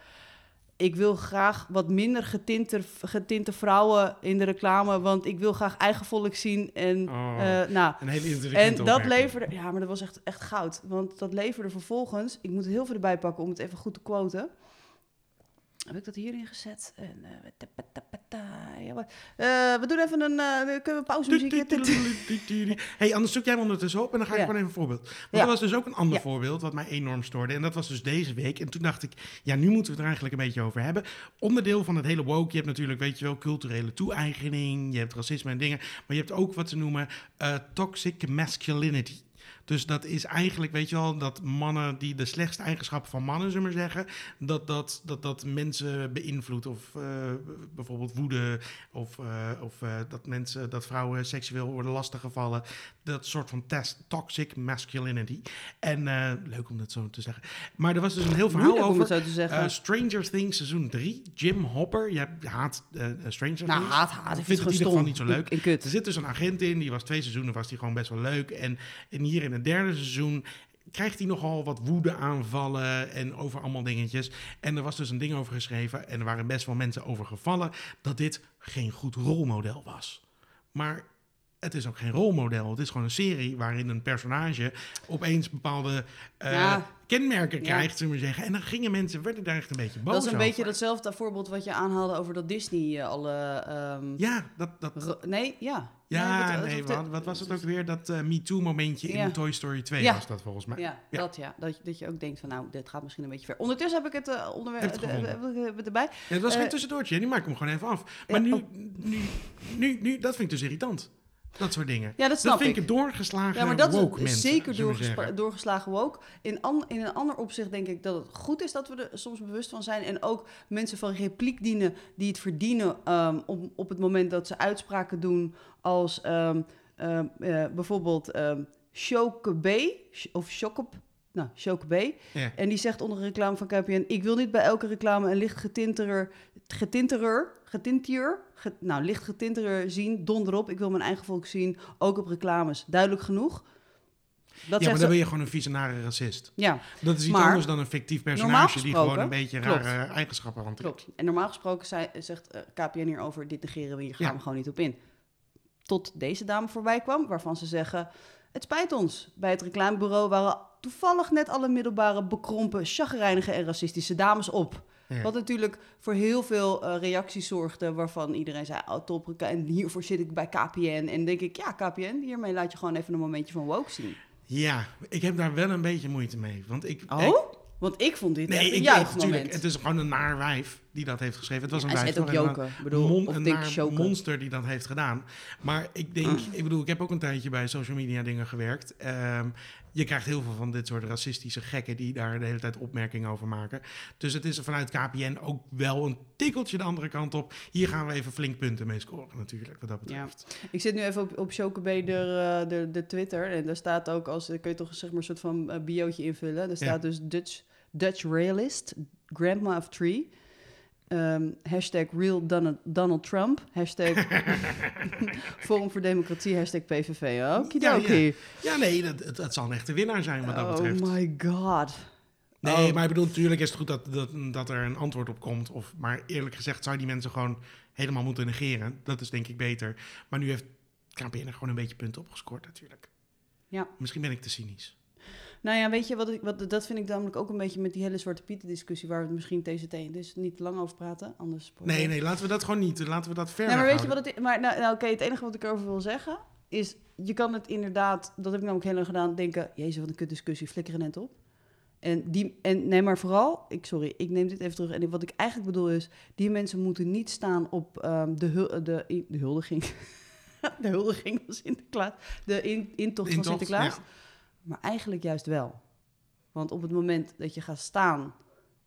Speaker 2: Ik wil graag wat minder getinte, getinte vrouwen in de reclame, want ik wil graag eigen volk zien. En,
Speaker 1: Oh, Dus
Speaker 2: eh, nou,
Speaker 1: een hele
Speaker 2: en
Speaker 1: intelligente
Speaker 2: dat
Speaker 1: opmerking.
Speaker 2: leverde... Ja, maar dat was echt, echt goud. Want dat leverde vervolgens... Ik moet het heel veel erbij pakken om het even goed te quoten. Heb ik dat hierin gezet? En, eh, we- ta- pa- ta- pa- ta- ja, maar- Eh, we doen even een... eh, kunnen we pauzemuziek?
Speaker 1: Hey, anders zoek jij hem ondertussen op en dan ga ik
Speaker 2: Ja.
Speaker 1: gewoon even een voorbeeld. Want
Speaker 2: Ja.
Speaker 1: er was dus ook een ander
Speaker 2: Ja.
Speaker 1: voorbeeld wat mij enorm stoorde. En dat was dus deze week. En toen dacht ik, ja, nu moeten we het er eigenlijk een beetje over hebben. Onderdeel van het hele woke, je hebt natuurlijk, weet je wel, culturele toe-eigening. Je hebt racisme en dingen. Maar je hebt ook wat ze noemen eh, toxic masculinity. Dus dat is eigenlijk, weet je wel, dat mannen die de slechtste eigenschappen van mannen, zullen we maar zeggen, dat dat, dat, dat mensen beïnvloedt. Of eh, bijvoorbeeld woede, of, eh, of eh, dat, mensen, dat vrouwen seksueel worden lastiggevallen. Dat soort van test, toxic masculinity. En eh, leuk om dat zo te zeggen. Maar er was dus een heel verhaal
Speaker 2: Moeilijk om het
Speaker 1: over
Speaker 2: zo te zeggen.
Speaker 1: eh, Stranger Things seizoen 3. Jim Hopper, jij haat eh, Stranger
Speaker 2: nou,
Speaker 1: Things.
Speaker 2: haat, haat. Ik
Speaker 1: Ik
Speaker 2: vind
Speaker 1: vind
Speaker 2: het
Speaker 1: het in ieder
Speaker 2: gewoon
Speaker 1: geval
Speaker 2: stom.
Speaker 1: niet zo leuk.
Speaker 2: En kut.
Speaker 1: Er zit dus een agent in, die was twee seizoenen, was die gewoon best wel leuk. En, en hier in het derde seizoen krijgt hij nogal wat woede aanvallen en over allemaal dingetjes. En er was dus een ding over geschreven en er waren best wel mensen over gevallen dat dit geen goed rolmodel was. Maar het is ook geen rolmodel. Het is gewoon een serie waarin een personage opeens bepaalde eh,
Speaker 2: Ja.
Speaker 1: kenmerken
Speaker 2: Ja.
Speaker 1: krijgt, zullen we zeggen. En dan gingen mensen, werden daar echt een beetje boos
Speaker 2: Dat is een
Speaker 1: over.
Speaker 2: beetje datzelfde voorbeeld wat je aanhaalde over dat Disney eh, alle... ehm,
Speaker 1: Ja, dat, dat,
Speaker 2: ro- Nee, ja.
Speaker 1: Ja,
Speaker 2: wat-
Speaker 1: nee,
Speaker 2: wat-
Speaker 1: wat, wat was het ook weer? Dat eh MeToo-momentje
Speaker 2: Ja.
Speaker 1: in Toy Story 2
Speaker 2: Ja.
Speaker 1: was dat volgens mij.
Speaker 2: Ja,
Speaker 1: Ja.
Speaker 2: dat ja. Dat, je- dat je ook denkt van nou, dit gaat misschien een beetje ver. Ondertussen heb ik het eh, onderwerp
Speaker 1: Heeft
Speaker 2: de-
Speaker 1: gewonnen.
Speaker 2: heb ik- heb ik het erbij.
Speaker 1: Ja, het was geen
Speaker 2: Eh,
Speaker 1: tussendoortje, die maak ik hem gewoon even af.
Speaker 2: Ja,
Speaker 1: Maar nu,
Speaker 2: oh.
Speaker 1: nu, nu, nu, dat vind ik dus irritant. Dat soort dingen.
Speaker 2: Ja, dat snap
Speaker 1: vind
Speaker 2: ik.
Speaker 1: ik een doorgeslagen
Speaker 2: Ja, maar dat
Speaker 1: woke
Speaker 2: is
Speaker 1: mensen,
Speaker 2: zeker
Speaker 1: zullen we
Speaker 2: doorgespa-
Speaker 1: zeggen.
Speaker 2: doorgeslagen woke. In, an- in een ander opzicht denk ik dat het goed is dat we er soms bewust van zijn. En ook mensen van repliek dienen die het verdienen ehm, om, op het moment dat ze uitspraken doen als ehm, ehm, eh, bijvoorbeeld ehm Shoke B sh- of Shokeb. Nou, Shoke B.
Speaker 1: Ja.
Speaker 2: En die zegt onder een reclame van KPN... ik wil niet bij elke reclame een licht getinterer... getinterer, getintier... ge- nou, licht getinterer zien, donder op. Ik wil mijn eigen volk zien, ook op reclames. Duidelijk genoeg?
Speaker 1: Ja,
Speaker 2: Dat
Speaker 1: maar
Speaker 2: zegt
Speaker 1: dan
Speaker 2: ze...
Speaker 1: ben je gewoon een visionare racist.
Speaker 2: Ja,
Speaker 1: Dat is iets
Speaker 2: Maar-
Speaker 1: anders dan een fictief
Speaker 2: normaal
Speaker 1: personage die
Speaker 2: gesproken-
Speaker 1: gewoon een beetje
Speaker 2: klopt.
Speaker 1: rare eigenschappen hanteert.
Speaker 2: klopt. En normaal gesproken zei- zegt eh, KPN hierover... dit negeren we, hier gaan
Speaker 1: Ja.
Speaker 2: we gewoon niet op in. Tot deze dame voorbij kwam, waarvan ze zeggen... het spijt ons. Bij het reclamebureau waren toevallig net alle middelbare... bekrompen, chagrijnige en racistische dames op...
Speaker 1: Ja.
Speaker 2: Wat natuurlijk voor heel veel eh, reacties zorgde, waarvan iedereen zei, oh top, en hiervoor zit ik bij KPN. En dan denk ik, ja KPN, hiermee laat je gewoon even een momentje van woke zien.
Speaker 1: Ja, ik heb daar wel een beetje moeite mee. Want ik... ik-
Speaker 2: Oh? Want ik vond dit
Speaker 1: nee,
Speaker 2: echt een
Speaker 1: ik
Speaker 2: juich
Speaker 1: weet
Speaker 2: moment.
Speaker 1: natuurlijk. Het is gewoon een naar wijf die dat heeft geschreven. Het was
Speaker 2: Ja,
Speaker 1: een
Speaker 2: hij
Speaker 1: wijf.
Speaker 2: zet ook
Speaker 1: toch? En dan-
Speaker 2: joken. Ik bedoel,
Speaker 1: mon-
Speaker 2: of
Speaker 1: een
Speaker 2: denk
Speaker 1: naar
Speaker 2: choken.
Speaker 1: monster die dat heeft gedaan. Maar ik
Speaker 2: Mm.
Speaker 1: denk, ik bedoel, ik heb ook een tijdje bij social media dingen gewerkt. Ehm, je krijgt heel veel van dit soort racistische gekken die daar de hele tijd opmerkingen over maken. Dus het is er vanuit KPN ook wel een tikkeltje de andere kant op. Hier gaan we even flink punten mee scoren natuurlijk, wat dat betreft.
Speaker 2: Ik zit nu even op, op Chocobee de, eh, de, de Twitter. En daar staat ook als, kun je toch zeg maar een soort van eh, biootje invullen. Daar staat dus Dutch, Dutch realist, grandma of three. Ehm, hashtag real Donald, Donald Trump.
Speaker 1: <laughs>
Speaker 2: Hashtag Forum voor Democratie. Hashtag PVV. Okidoki.
Speaker 1: Ja, ja. Ja, nee, dat, het, het zal een echte winnaar zijn wat dat betreft.
Speaker 2: Oh my god.
Speaker 1: Nee,
Speaker 2: Oh.
Speaker 1: maar ik bedoel, natuurlijk is het goed dat, dat, dat er een antwoord op komt. Of, maar eerlijk gezegd zou je die mensen gewoon helemaal moeten negeren. Dat is denk ik beter. Maar nu heeft KPN er gewoon een beetje punten op gescoord natuurlijk.
Speaker 2: Ja.
Speaker 1: Misschien ben ik te cynisch.
Speaker 2: Nou ja, weet je, wat ik, wat, dat vind ik namelijk ook een beetje met die hele Zwarte Pieten discussie... waar we het misschien TCT dus niet te lang over praten. Anders
Speaker 1: Nee, nee, laten we dat gewoon niet. Laten we dat ver
Speaker 2: Nee, maar weet je
Speaker 1: weghouden.
Speaker 2: wat het is? Maar nou, nou oké, het enige wat ik erover wil zeggen is... Je kan het inderdaad, dat heb ik namelijk heel lang gedaan, denken... Jezus, wat een kut discussie, flikker er net op. En, die, en nee, maar vooral, ik, sorry, ik neem dit even terug. En wat ik eigenlijk bedoel is, die mensen moeten niet staan op ehm, de, hul- eh, de, de huldiging. <laughs> de huldiging van Sinterklaas. De in, intocht van
Speaker 1: Intocht,
Speaker 2: Sinterklaas.
Speaker 1: ja.
Speaker 2: Maar eigenlijk juist wel. Want op het moment dat je gaat staan,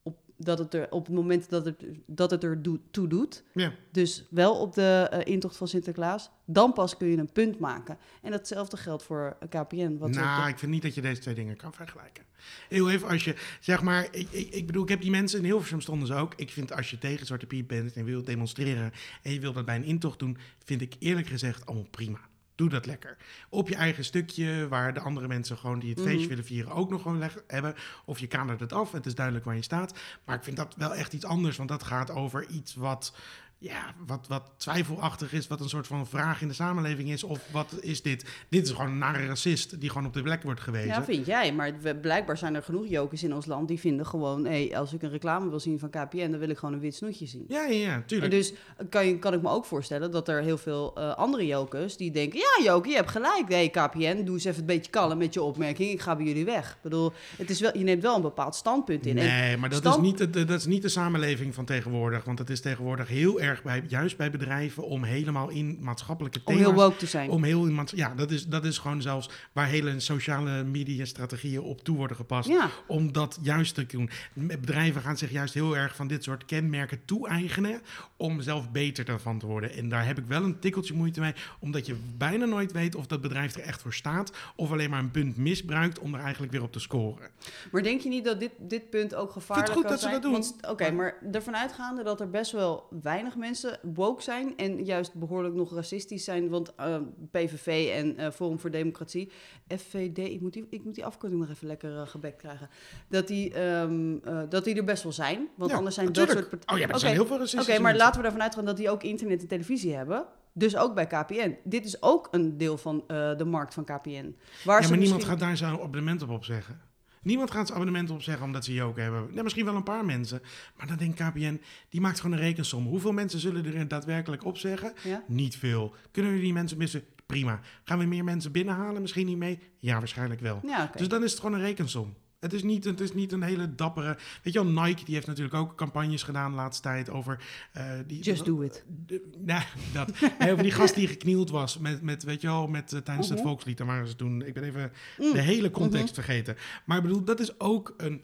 Speaker 2: op, dat het er, op het moment dat het, dat het er doet- toe doet,
Speaker 1: Ja.
Speaker 2: dus wel op de eh, intocht van Sinterklaas. Dan pas kun je een punt maken. En datzelfde geldt voor eh, KPN. Wat
Speaker 1: nou,
Speaker 2: we-
Speaker 1: ik vind niet dat je deze twee dingen kan vergelijken. Heel even als je, zeg maar, ik, ik, ik bedoel, ik heb die mensen in Hilversum stonden ze ook. Ik vind als je tegen Zwarte Piet bent en wil demonstreren en je wil dat bij een intocht doen, vind ik eerlijk gezegd allemaal prima. Doe dat lekker. Op je eigen stukje, waar de andere mensen gewoon die het feestje willen vieren ook nog gewoon leg- hebben. Of je kadert het af, het is duidelijk waar je staat. Maar ik vind dat wel echt iets anders, want dat gaat over iets wat ja, wat, wat twijfelachtig is, wat een soort van vraag in de samenleving is. Of wat is dit? Dit is gewoon een nare racist die gewoon op de plek wordt gewezen.
Speaker 2: Ja, vind jij. Maar we- blijkbaar zijn er genoeg jokers in ons land die vinden gewoon... hé, als ik een reclame wil zien van KPN, dan wil ik gewoon een wit snoetje zien.
Speaker 1: ja, ja, ja,
Speaker 2: En
Speaker 1: tuurlijk.
Speaker 2: dus kan, je, kan ik me ook voorstellen dat er heel veel eh, andere jokers die denken... ja, joker, je hebt gelijk. Hé, KPN, doe eens even een beetje kalm met je opmerking. Ik ga bij jullie weg. Ik bedoel, het is wel, je neemt wel een bepaald standpunt in. dus- En
Speaker 1: Nee, maar dat,
Speaker 2: stand-
Speaker 1: is niet, het- dat is niet de samenleving van tegenwoordig. Want het is tegenwoordig heel erg, bij, juist bij bedrijven, om helemaal in maatschappelijke
Speaker 2: om
Speaker 1: thema's...
Speaker 2: heel woke te zijn.
Speaker 1: Om heel iemand, ja, dat is, dat is gewoon zelfs waar hele sociale media strategieën op toe worden gepast.
Speaker 2: Ja.
Speaker 1: Om dat juist te doen. Bedrijven gaan zich juist heel erg van dit soort kenmerken toe-eigenen. Om zelf beter daarvan te worden. En daar heb ik wel een tikkeltje moeite mee. Omdat je bijna nooit weet of dat bedrijf er echt voor staat. Of alleen maar een punt misbruikt om er eigenlijk weer op te scoren.
Speaker 2: Maar denk je niet dat dit, dit punt ook gevaarlijk
Speaker 1: goed
Speaker 2: kan
Speaker 1: dat ze
Speaker 2: zijn?
Speaker 1: dat doen.
Speaker 2: Want, Oké, maar ervan uitgaande dat er best wel weinig mensen woke zijn... en juist behoorlijk nog racistisch zijn, want eh, PVV en eh, Forum voor Democratie... FVD, ik moet die, ik moet die afkorting nog even lekker eh, gebekt krijgen... Dat die, ehm, eh, dat die er best wel zijn, want
Speaker 1: Ja,
Speaker 2: anders zijn dat
Speaker 1: natuurlijk.
Speaker 2: soort... part-
Speaker 1: Oh ja, maar er
Speaker 2: Oké,
Speaker 1: zijn heel veel
Speaker 2: Oké,
Speaker 1: racistische
Speaker 2: maar
Speaker 1: mensen.
Speaker 2: laten we ervan uitgaan dat die ook internet en televisie hebben... Dus ook bij KPN. Dit is ook een deel van eh, de markt van KPN. Waar
Speaker 1: Ja,
Speaker 2: ze
Speaker 1: maar niemand
Speaker 2: misschien-
Speaker 1: gaat daar zijn abonnement op opzeggen. Niemand gaat zijn abonnement opzeggen omdat ze joken hebben. Ja, misschien wel een paar mensen. Maar dan denkt KPN, die maakt gewoon een rekensom. Hoeveel mensen zullen er daadwerkelijk opzeggen?
Speaker 2: Ja?
Speaker 1: Niet veel. Kunnen we die mensen missen? Prima. Gaan we meer mensen binnenhalen? Misschien niet mee? Ja, waarschijnlijk wel.
Speaker 2: Ja, oké.
Speaker 1: Dus dan is het gewoon een rekensom. Het is, niet, het is niet een hele dappere... Weet je wel, Nike die heeft natuurlijk ook campagnes gedaan de laatste tijd over... eh, die,
Speaker 2: Just do it.
Speaker 1: de- nou, dat. Nee, over die gast die geknield was. Met, met weet je wel, met, eh, tijdens
Speaker 2: Mhm.
Speaker 1: het volkslied. Daar waren ze toen. Ik ben even
Speaker 2: Mm.
Speaker 1: de hele context vergeten. Maar ik bedoel, dat is ook een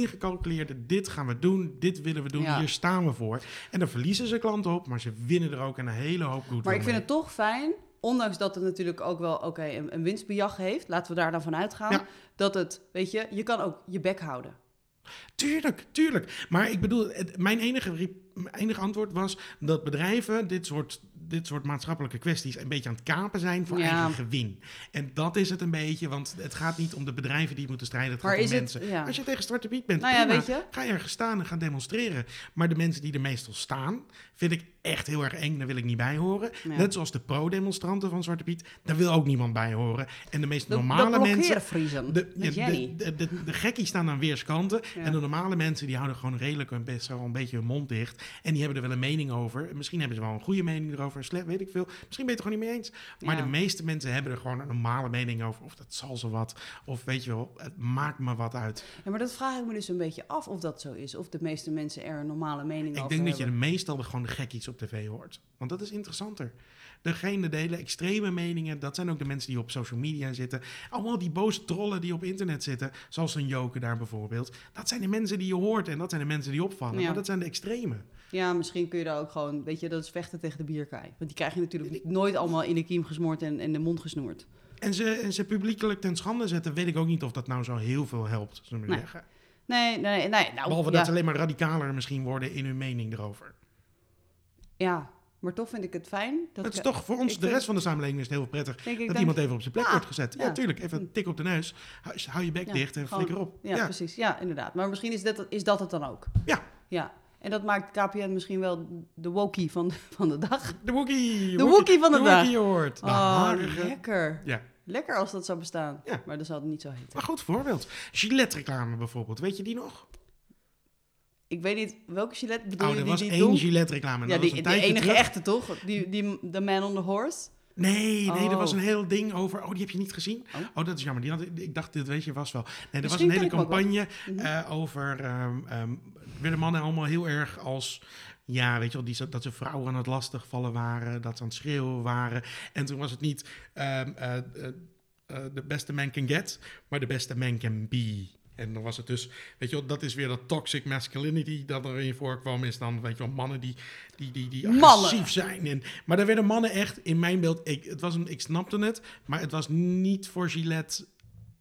Speaker 1: ingecalculeerde. Dit gaan we doen. Dit willen we doen.
Speaker 2: Ja.
Speaker 1: Hier staan we voor. En dan verliezen ze klanten op. Maar ze winnen er ook een hele hoop goed
Speaker 2: Maar ik vind het toch fijn, ondanks dat het natuurlijk ook wel oké een, een winstbejag heeft, laten we daar dan van uitgaan,
Speaker 1: Ja.
Speaker 2: dat het, weet je, je kan ook je bek houden.
Speaker 1: Tuurlijk, tuurlijk. Maar ik bedoel, het- mijn enige, re- mijn enige antwoord was dat bedrijven dit soort, dit soort maatschappelijke kwesties een beetje aan het kapen zijn voor
Speaker 2: Ja.
Speaker 1: eigen gewin. En dat is het een beetje, want het gaat niet om de bedrijven die moeten strijden, het
Speaker 2: Maar
Speaker 1: gaat om
Speaker 2: is het-
Speaker 1: mensen.
Speaker 2: ja.
Speaker 1: Als je tegen Zwarte Piet bent,
Speaker 2: Nou ja,
Speaker 1: prima,
Speaker 2: weet je.
Speaker 1: ga ergens staan en ga demonstreren. Maar de mensen die er meestal staan, vind ik echt heel erg eng, daar wil ik niet bij horen.
Speaker 2: Ja.
Speaker 1: Net zoals de pro-demonstranten van Zwarte Piet, daar wil ook niemand bij horen. En de meest
Speaker 2: De,
Speaker 1: normale
Speaker 2: de
Speaker 1: mensen...
Speaker 2: blokkeervriezen,
Speaker 1: De,
Speaker 2: weet
Speaker 1: ja,
Speaker 2: jij
Speaker 1: de,
Speaker 2: niet.
Speaker 1: de, de, de gekkies staan aan weerskanten.
Speaker 2: Ja.
Speaker 1: En de normale mensen die houden gewoon redelijk hun best wel een beetje hun mond dicht. En die hebben er wel een mening over. Misschien hebben ze wel een goede mening erover. Slecht, weet ik veel. Misschien ben je het er gewoon niet mee eens. Maar
Speaker 2: Ja.
Speaker 1: de meeste mensen hebben er gewoon een normale mening over. Of dat zal ze wat. Of weet je wel, het maakt me wat uit.
Speaker 2: Ja, maar dat vraag ik me dus een beetje af of dat zo is, of de meeste mensen er een normale mening
Speaker 1: Ik
Speaker 2: over
Speaker 1: denk dat je
Speaker 2: hebben.
Speaker 1: meestal gewoon de gekkies op tv hoort. Want dat is interessanter. Degene die hele extreme meningen, dat zijn ook de mensen die op social media zitten. Allemaal die boze trollen die op internet zitten, zoals een Joker daar bijvoorbeeld. Dat zijn de mensen die je hoort en dat zijn de mensen die opvallen.
Speaker 2: Ja.
Speaker 1: Maar dat zijn de extreme.
Speaker 2: Ja, misschien kun je daar ook gewoon, weet je, dat is vechten tegen de bierkaai. Want die krijg je natuurlijk nooit allemaal in de kiem gesmoord en in de mond gesnoerd.
Speaker 1: En ze, en ze publiekelijk ten schande zetten, weet ik ook niet of dat nou zo heel veel helpt. Zullen we
Speaker 2: Nee.
Speaker 1: zeggen.
Speaker 2: Nee, nee, nee. Nou,
Speaker 1: Behalve
Speaker 2: ja,
Speaker 1: dat ze alleen maar radicaler misschien worden in hun mening erover.
Speaker 2: ja, maar toch vind ik het fijn. Dat
Speaker 1: Dat is
Speaker 2: ik-
Speaker 1: toch voor ons,
Speaker 2: ik
Speaker 1: de
Speaker 2: vind-
Speaker 1: rest van de samenleving is het heel prettig.
Speaker 2: denk ik
Speaker 1: Dat
Speaker 2: dan-
Speaker 1: iemand even op zijn plek
Speaker 2: Ja,
Speaker 1: wordt gezet. Ja,
Speaker 2: ja.
Speaker 1: tuurlijk. Even een tik op de neus. Hou, hou je bek
Speaker 2: Ja,
Speaker 1: dicht en
Speaker 2: gewoon-
Speaker 1: flikker op.
Speaker 2: Ja, precies. Ja, inderdaad. Maar misschien is dat, is dat het dan ook.
Speaker 1: Ja.
Speaker 2: Ja. En dat maakt KPN misschien wel de wokie van, van de dag.
Speaker 1: De Wookie.
Speaker 2: De Wookiee van de dag.
Speaker 1: Wookie hoort. De
Speaker 2: Oh,
Speaker 1: harige.
Speaker 2: lekker.
Speaker 1: Ja.
Speaker 2: Lekker als dat zou bestaan.
Speaker 1: Ja.
Speaker 2: Maar dan zou het niet zo heten.
Speaker 1: Een goed voorbeeld. Gillette-reclame bijvoorbeeld. Weet je die nog?
Speaker 2: Ik weet niet welke Gillette bedoel
Speaker 1: oh,
Speaker 2: je
Speaker 1: er
Speaker 2: die,
Speaker 1: was
Speaker 2: die
Speaker 1: één
Speaker 2: doen?
Speaker 1: Gillette-reclame. en
Speaker 2: Ja,
Speaker 1: dat
Speaker 2: die,
Speaker 1: was een
Speaker 2: die
Speaker 1: tijdje
Speaker 2: enige
Speaker 1: terug.
Speaker 2: echte toch? Die, die, the man on the horse.
Speaker 1: Nee, nee, er was
Speaker 2: Oh.
Speaker 1: een heel ding over. Oh, die heb je niet gezien?
Speaker 2: Oh.
Speaker 1: Oh, dat is jammer. Die had, ik dacht, dit weet je vast wel. Nee, er was
Speaker 2: Misschien
Speaker 1: een hele
Speaker 2: ken ik hem ook
Speaker 1: campagne eh, over. ehm ehm, werden mannen allemaal heel erg als. Ja, weet je wel, die, dat ze vrouwen aan het lastigvallen waren. Dat ze aan het schreeuwen waren. En toen was het niet. ehm, eh, eh, eh, de beste man can get, maar de beste man can be. En dan was het dus, weet je wel, dat is weer dat toxic masculinity dat erin voorkwam. Is dan, weet je wel, mannen die, die, die, die
Speaker 2: Mannen.
Speaker 1: agressief zijn. En, maar daar werden mannen echt, in mijn beeld, ik, het was een, ik snapte het, maar het was niet voor Gillette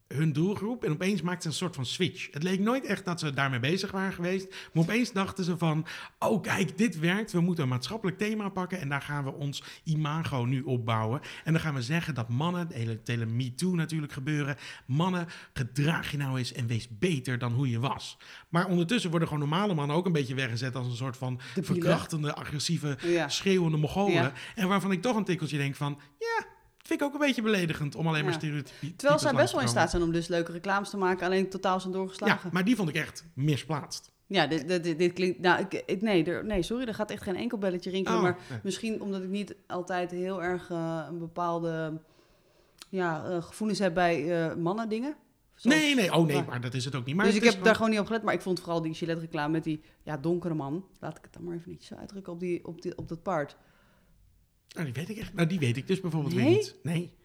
Speaker 1: hun doelgroep. En opeens maakten ze een soort van switch. Het leek nooit echt dat ze daarmee bezig waren geweest. Maar opeens dachten ze van, oh kijk, dit werkt. We moeten een maatschappelijk thema pakken. En daar gaan we ons imago nu opbouwen. En dan gaan we zeggen dat mannen, de hele, de hele Me Too natuurlijk gebeuren. Mannen, gedraag je nou eens en wees beter dan hoe je was. Maar ondertussen worden gewoon normale mannen ook een beetje weggezet als een soort van
Speaker 2: Debielen.
Speaker 1: verkrachtende, agressieve,
Speaker 2: Ja.
Speaker 1: schreeuwende mogolen.
Speaker 2: Ja.
Speaker 1: En waarvan ik toch een tikkeltje denk van, ja, vind ik ook een beetje beledigend om alleen maar
Speaker 2: Ja.
Speaker 1: stereotypen
Speaker 2: Terwijl
Speaker 1: langs
Speaker 2: zij best
Speaker 1: te
Speaker 2: wel in
Speaker 1: komen.
Speaker 2: staat zijn om dus leuke reclames te maken, alleen totaal zijn
Speaker 1: Ja,
Speaker 2: doorgeslagen. Ja,
Speaker 1: maar die vond ik echt misplaatst.
Speaker 2: dit, dit, dit, dit klinkt. Nou, ik, ik- nee, er, nee, sorry, er gaat echt geen enkel belletje rinkelen.
Speaker 1: Oh,
Speaker 2: maar
Speaker 1: nee.
Speaker 2: misschien omdat ik niet altijd heel erg eh, een bepaalde ja, eh, gevoelens heb bij eh, mannen dingen. Zoals-
Speaker 1: nee, nee, oh nee,
Speaker 2: maar-
Speaker 1: maar dat is het ook niet. Maar
Speaker 2: dus ik
Speaker 1: het
Speaker 2: heb
Speaker 1: is gewoon-
Speaker 2: daar gewoon niet op gelet, maar ik vond vooral die Gillette-reclame met die ja, donkere man. Laat ik het dan maar even niet zo uitdrukken op, die, op, die, op dat paard.
Speaker 1: Nou, die weet ik echt. Nou, die weet ik dus bijvoorbeeld
Speaker 2: Nee?
Speaker 1: weer niet. Nee.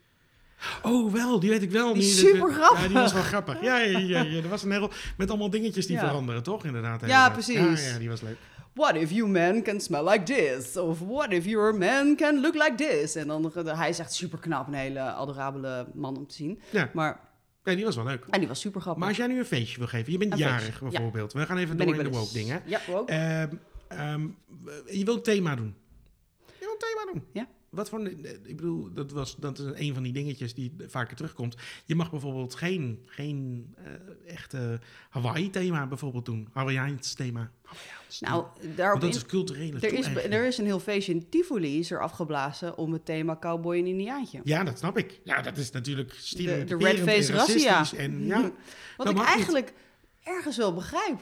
Speaker 1: Oh, wel, die weet ik wel.
Speaker 2: Die is
Speaker 1: nu je dit-
Speaker 2: supergrappig.
Speaker 1: Ja, die was wel grappig. Ja, ja, ja, ja, er was een hele... Met allemaal dingetjes die
Speaker 2: Ja.
Speaker 1: veranderen, toch? Inderdaad.
Speaker 2: Ja,
Speaker 1: inderdaad.
Speaker 2: precies.
Speaker 1: Ja, ja, die was leuk.
Speaker 2: What if you man can smell like this? Of what if your man can look like this? En dan, hij is echt super knap, een hele adorabele man om te zien.
Speaker 1: Ja.
Speaker 2: Maar,
Speaker 1: Ja, die was wel leuk.
Speaker 2: en die was super grappig.
Speaker 1: Maar als jij nu een feestje wil geven, je bent
Speaker 2: Een
Speaker 1: jarig
Speaker 2: feestje, ja.
Speaker 1: bijvoorbeeld. We gaan even
Speaker 2: ben
Speaker 1: door
Speaker 2: ik
Speaker 1: in de
Speaker 2: wel
Speaker 1: woke
Speaker 2: eens-
Speaker 1: dingen.
Speaker 2: Ja, woke.
Speaker 1: Ehm, ehm, je wil een thema doen. Je wil een thema doen.
Speaker 2: Ja.
Speaker 1: Wat voor, een- ik bedoel, dat, was, dat is een van die dingetjes die vaker terugkomt. Je mag bijvoorbeeld geen, geen eh, echte Hawaii-thema bijvoorbeeld doen. Hawaiiaans thema. Hawaiiaans
Speaker 2: nou,
Speaker 1: thema.
Speaker 2: daarop
Speaker 1: Want dat
Speaker 2: in-
Speaker 1: is culturele
Speaker 2: er, is,
Speaker 1: toe-eigening.
Speaker 2: er is een heel feestje in Tivoli is er afgeblazen om het thema cowboy en indiaantje.
Speaker 1: Ja, dat snap ik. Ja, dat is natuurlijk stereotyperend
Speaker 2: de red face Mm-hmm.
Speaker 1: en
Speaker 2: rassia.
Speaker 1: racistisch En, ja. Dat
Speaker 2: Wat
Speaker 1: mag
Speaker 2: ik
Speaker 1: niet.
Speaker 2: eigenlijk ergens wel begrijp.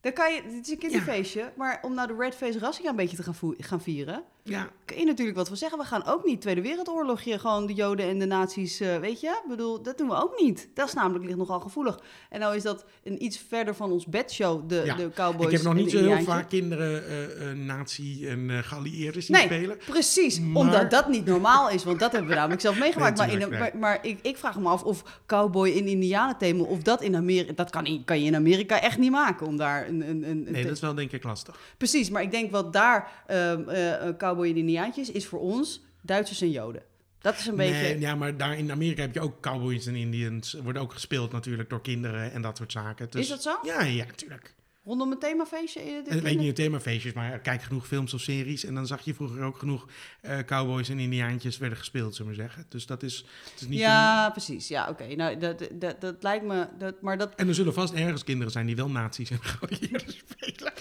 Speaker 2: Dan kan je, het is een kinderfeestje, maar om nou de Red Face Rassica een beetje te gaan, voe- gaan vieren,
Speaker 1: ja,
Speaker 2: kun je natuurlijk wat van zeggen. We gaan ook niet Tweede Wereldoorlogje, gewoon de Joden en de nazi's, eh, weet je? Ik bedoel, dat doen we ook niet. Dat is namelijk ligt nogal gevoelig. En nou is dat een iets verder van ons bedshow, de,
Speaker 1: Ja.
Speaker 2: de Cowboys.
Speaker 1: ik heb nog
Speaker 2: en
Speaker 1: niet
Speaker 2: de
Speaker 1: zo heel
Speaker 2: Indiaantje.
Speaker 1: vaak kinderen eh, eh, nazi en eh geallieerden zien
Speaker 2: Nee,
Speaker 1: spelen.
Speaker 2: precies.
Speaker 1: Maar-
Speaker 2: Omdat dat niet normaal is, want dat hebben we namelijk zelf meegemaakt.
Speaker 1: Nee,
Speaker 2: maar in,
Speaker 1: tuurlijk,
Speaker 2: maar, maar ik, ik vraag me af of cowboy in indianenthema, of dat in Amerika, dat kan, in- kan je in Amerika echt niet maken om daar een... een, een
Speaker 1: Nee,
Speaker 2: te-
Speaker 1: dat is wel denk ik lastig.
Speaker 2: Precies, maar ik denk wat daar ehm, eh, eh, cowboy en indiaantjes is voor ons Duitsers en Joden. Dat is een beetje...
Speaker 1: Nee, ja, maar daar in Amerika heb je ook cowboys en Indians. Er Worden ook gespeeld natuurlijk door kinderen en dat soort zaken. Dus-
Speaker 2: Is dat zo?
Speaker 1: Ja, ja, natuurlijk.
Speaker 2: Rondom het themafeestje? eh, de
Speaker 1: Ik weet
Speaker 2: kinderen?
Speaker 1: niet themafeestjes, maar kijk genoeg films of series. En dan zag je vroeger ook genoeg eh, cowboys en indiaantjes werden gespeeld, zullen we maar zeggen. Dus dat is, het is niet een-
Speaker 2: Ja, precies. Ja, oké. Nou, dat, dat, dat lijkt me... Dat, maar dat,
Speaker 1: En er zullen vast ergens kinderen zijn die wel nazi's en <laughs> geallieerden spelen.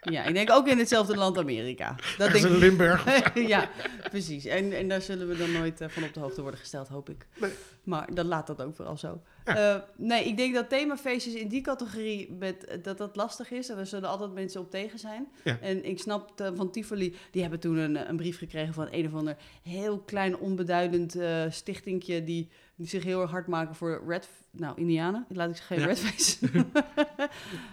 Speaker 2: ja, ik denk ook in hetzelfde land Amerika. Dat
Speaker 1: Dat is
Speaker 2: denk
Speaker 1: in
Speaker 2: ik.
Speaker 1: Limburg.
Speaker 2: <laughs> ja, precies. En, en daar zullen we dan nooit eh, van op de hoogte worden gesteld, hoop ik.
Speaker 1: Nee.
Speaker 2: Maar dan laat dat ook vooral zo.
Speaker 1: Ja.
Speaker 2: Eh, nee, ik denk dat themafeestjes in die categorie met, eh, dat dat lastig is. En daar zullen altijd mensen op tegen zijn.
Speaker 1: Ja.
Speaker 2: En ik snap eh, van Tivoli, die hebben toen een, een brief gekregen van een of ander heel klein onbeduidend eh stichtingje die, die zich heel erg hard maken voor Red... Nou, Indianen, laat ik ze geen
Speaker 1: Ja.
Speaker 2: Redface <laughs>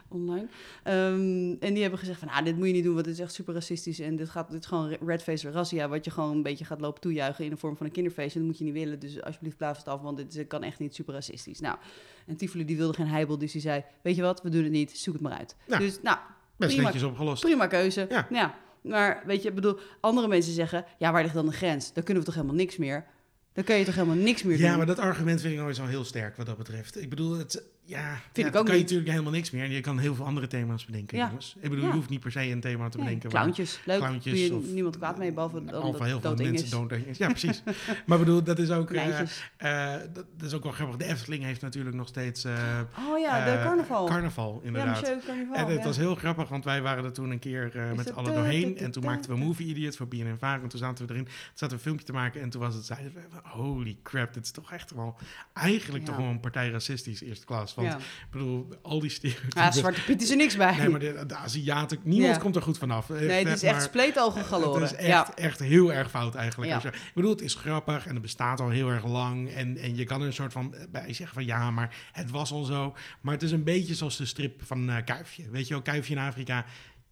Speaker 2: online. Ehm, en die hebben gezegd van, ah, dit moet je niet doen, want dit is echt super racistisch. En dit, gaat, dit is gewoon redface razzia, wat je gewoon een beetje gaat lopen toejuichen in de vorm van een kinderfeest. En dat moet je niet willen, dus alsjeblieft blaaf het af, want dit is- kan echt niet super racistisch. Nou, en Tivoli die wilde geen heibel, dus die zei, weet je wat, we doen het niet, zoek het maar uit.
Speaker 1: Nou,
Speaker 2: dus nou,
Speaker 1: Best
Speaker 2: Prima.
Speaker 1: netjes opgelost.
Speaker 2: prima keuze.
Speaker 1: Ja.
Speaker 2: Maar weet je, ik bedoel, andere mensen zeggen, ja, waar ligt dan de grens? Dan kunnen we toch helemaal niks meer? Dan kun je toch helemaal niks meer
Speaker 1: Ja,
Speaker 2: doen?
Speaker 1: maar dat argument vind ik nooit zo heel sterk wat dat betreft. Ik bedoel, het, ja, ja,
Speaker 2: ik
Speaker 1: dan
Speaker 2: ook
Speaker 1: kan je
Speaker 2: niet.
Speaker 1: natuurlijk helemaal niks meer. En je kan heel veel andere thema's bedenken,
Speaker 2: Ja.
Speaker 1: jongens. Ik bedoel,
Speaker 2: Ja.
Speaker 1: je hoeft niet per se een thema te
Speaker 2: Nee,
Speaker 1: bedenken. waar-
Speaker 2: clowntjes, leuk,
Speaker 1: clowntjes
Speaker 2: doe je
Speaker 1: of-
Speaker 2: niemand kwaad mee, behalve dan
Speaker 1: Al
Speaker 2: dat
Speaker 1: van heel veel
Speaker 2: dood eng
Speaker 1: mensen
Speaker 2: is.
Speaker 1: doodeng is. Ja,
Speaker 2: <laughs>
Speaker 1: precies. maar ik bedoel, dat is ook... eh,
Speaker 2: Konijntjes.
Speaker 1: eh, dat, dat is ook wel grappig. De Efteling heeft natuurlijk nog steeds... eh,
Speaker 2: Oh ja, de
Speaker 1: eh,
Speaker 2: carnaval.
Speaker 1: Carnaval,
Speaker 2: ja,
Speaker 1: inderdaad.
Speaker 2: Monsieur Carnaval.
Speaker 1: en het
Speaker 2: ja.
Speaker 1: was heel grappig, want wij waren er toen een keer eh,
Speaker 2: Is
Speaker 1: met z'n
Speaker 2: dat
Speaker 1: allen
Speaker 2: da-
Speaker 1: doorheen.
Speaker 2: da- da-
Speaker 1: En toen
Speaker 2: da-
Speaker 1: maakten we Movie Idiot voor BNN Vaak. En toen zaten we erin, toen zaten we een filmpje te maken. En toen was het, zeiden we, holy crap, dit is toch echt wel... Eigenlijk toch
Speaker 2: Ja.
Speaker 1: wel een partij racistisch, eerste klas. Want
Speaker 2: Ja.
Speaker 1: ik bedoel, al die stereotypen...
Speaker 2: Ja, Zwarte Piet is er niks bij.
Speaker 1: Nee, maar de, de Aziaten, niemand
Speaker 2: Ja.
Speaker 1: komt er goed vanaf.
Speaker 2: Nee, het is echt
Speaker 1: maar-
Speaker 2: spleetogen galoren.
Speaker 1: het is echt,
Speaker 2: Ja.
Speaker 1: echt heel erg fout eigenlijk.
Speaker 2: Ja.
Speaker 1: Als je- ik bedoel, het is grappig en het bestaat al heel erg lang. En, en je kan er een soort van bij zeggen van ja, maar het was al zo. Maar het is een beetje zoals de strip van eh, Kuifje. Weet je wel, Kuifje in Afrika.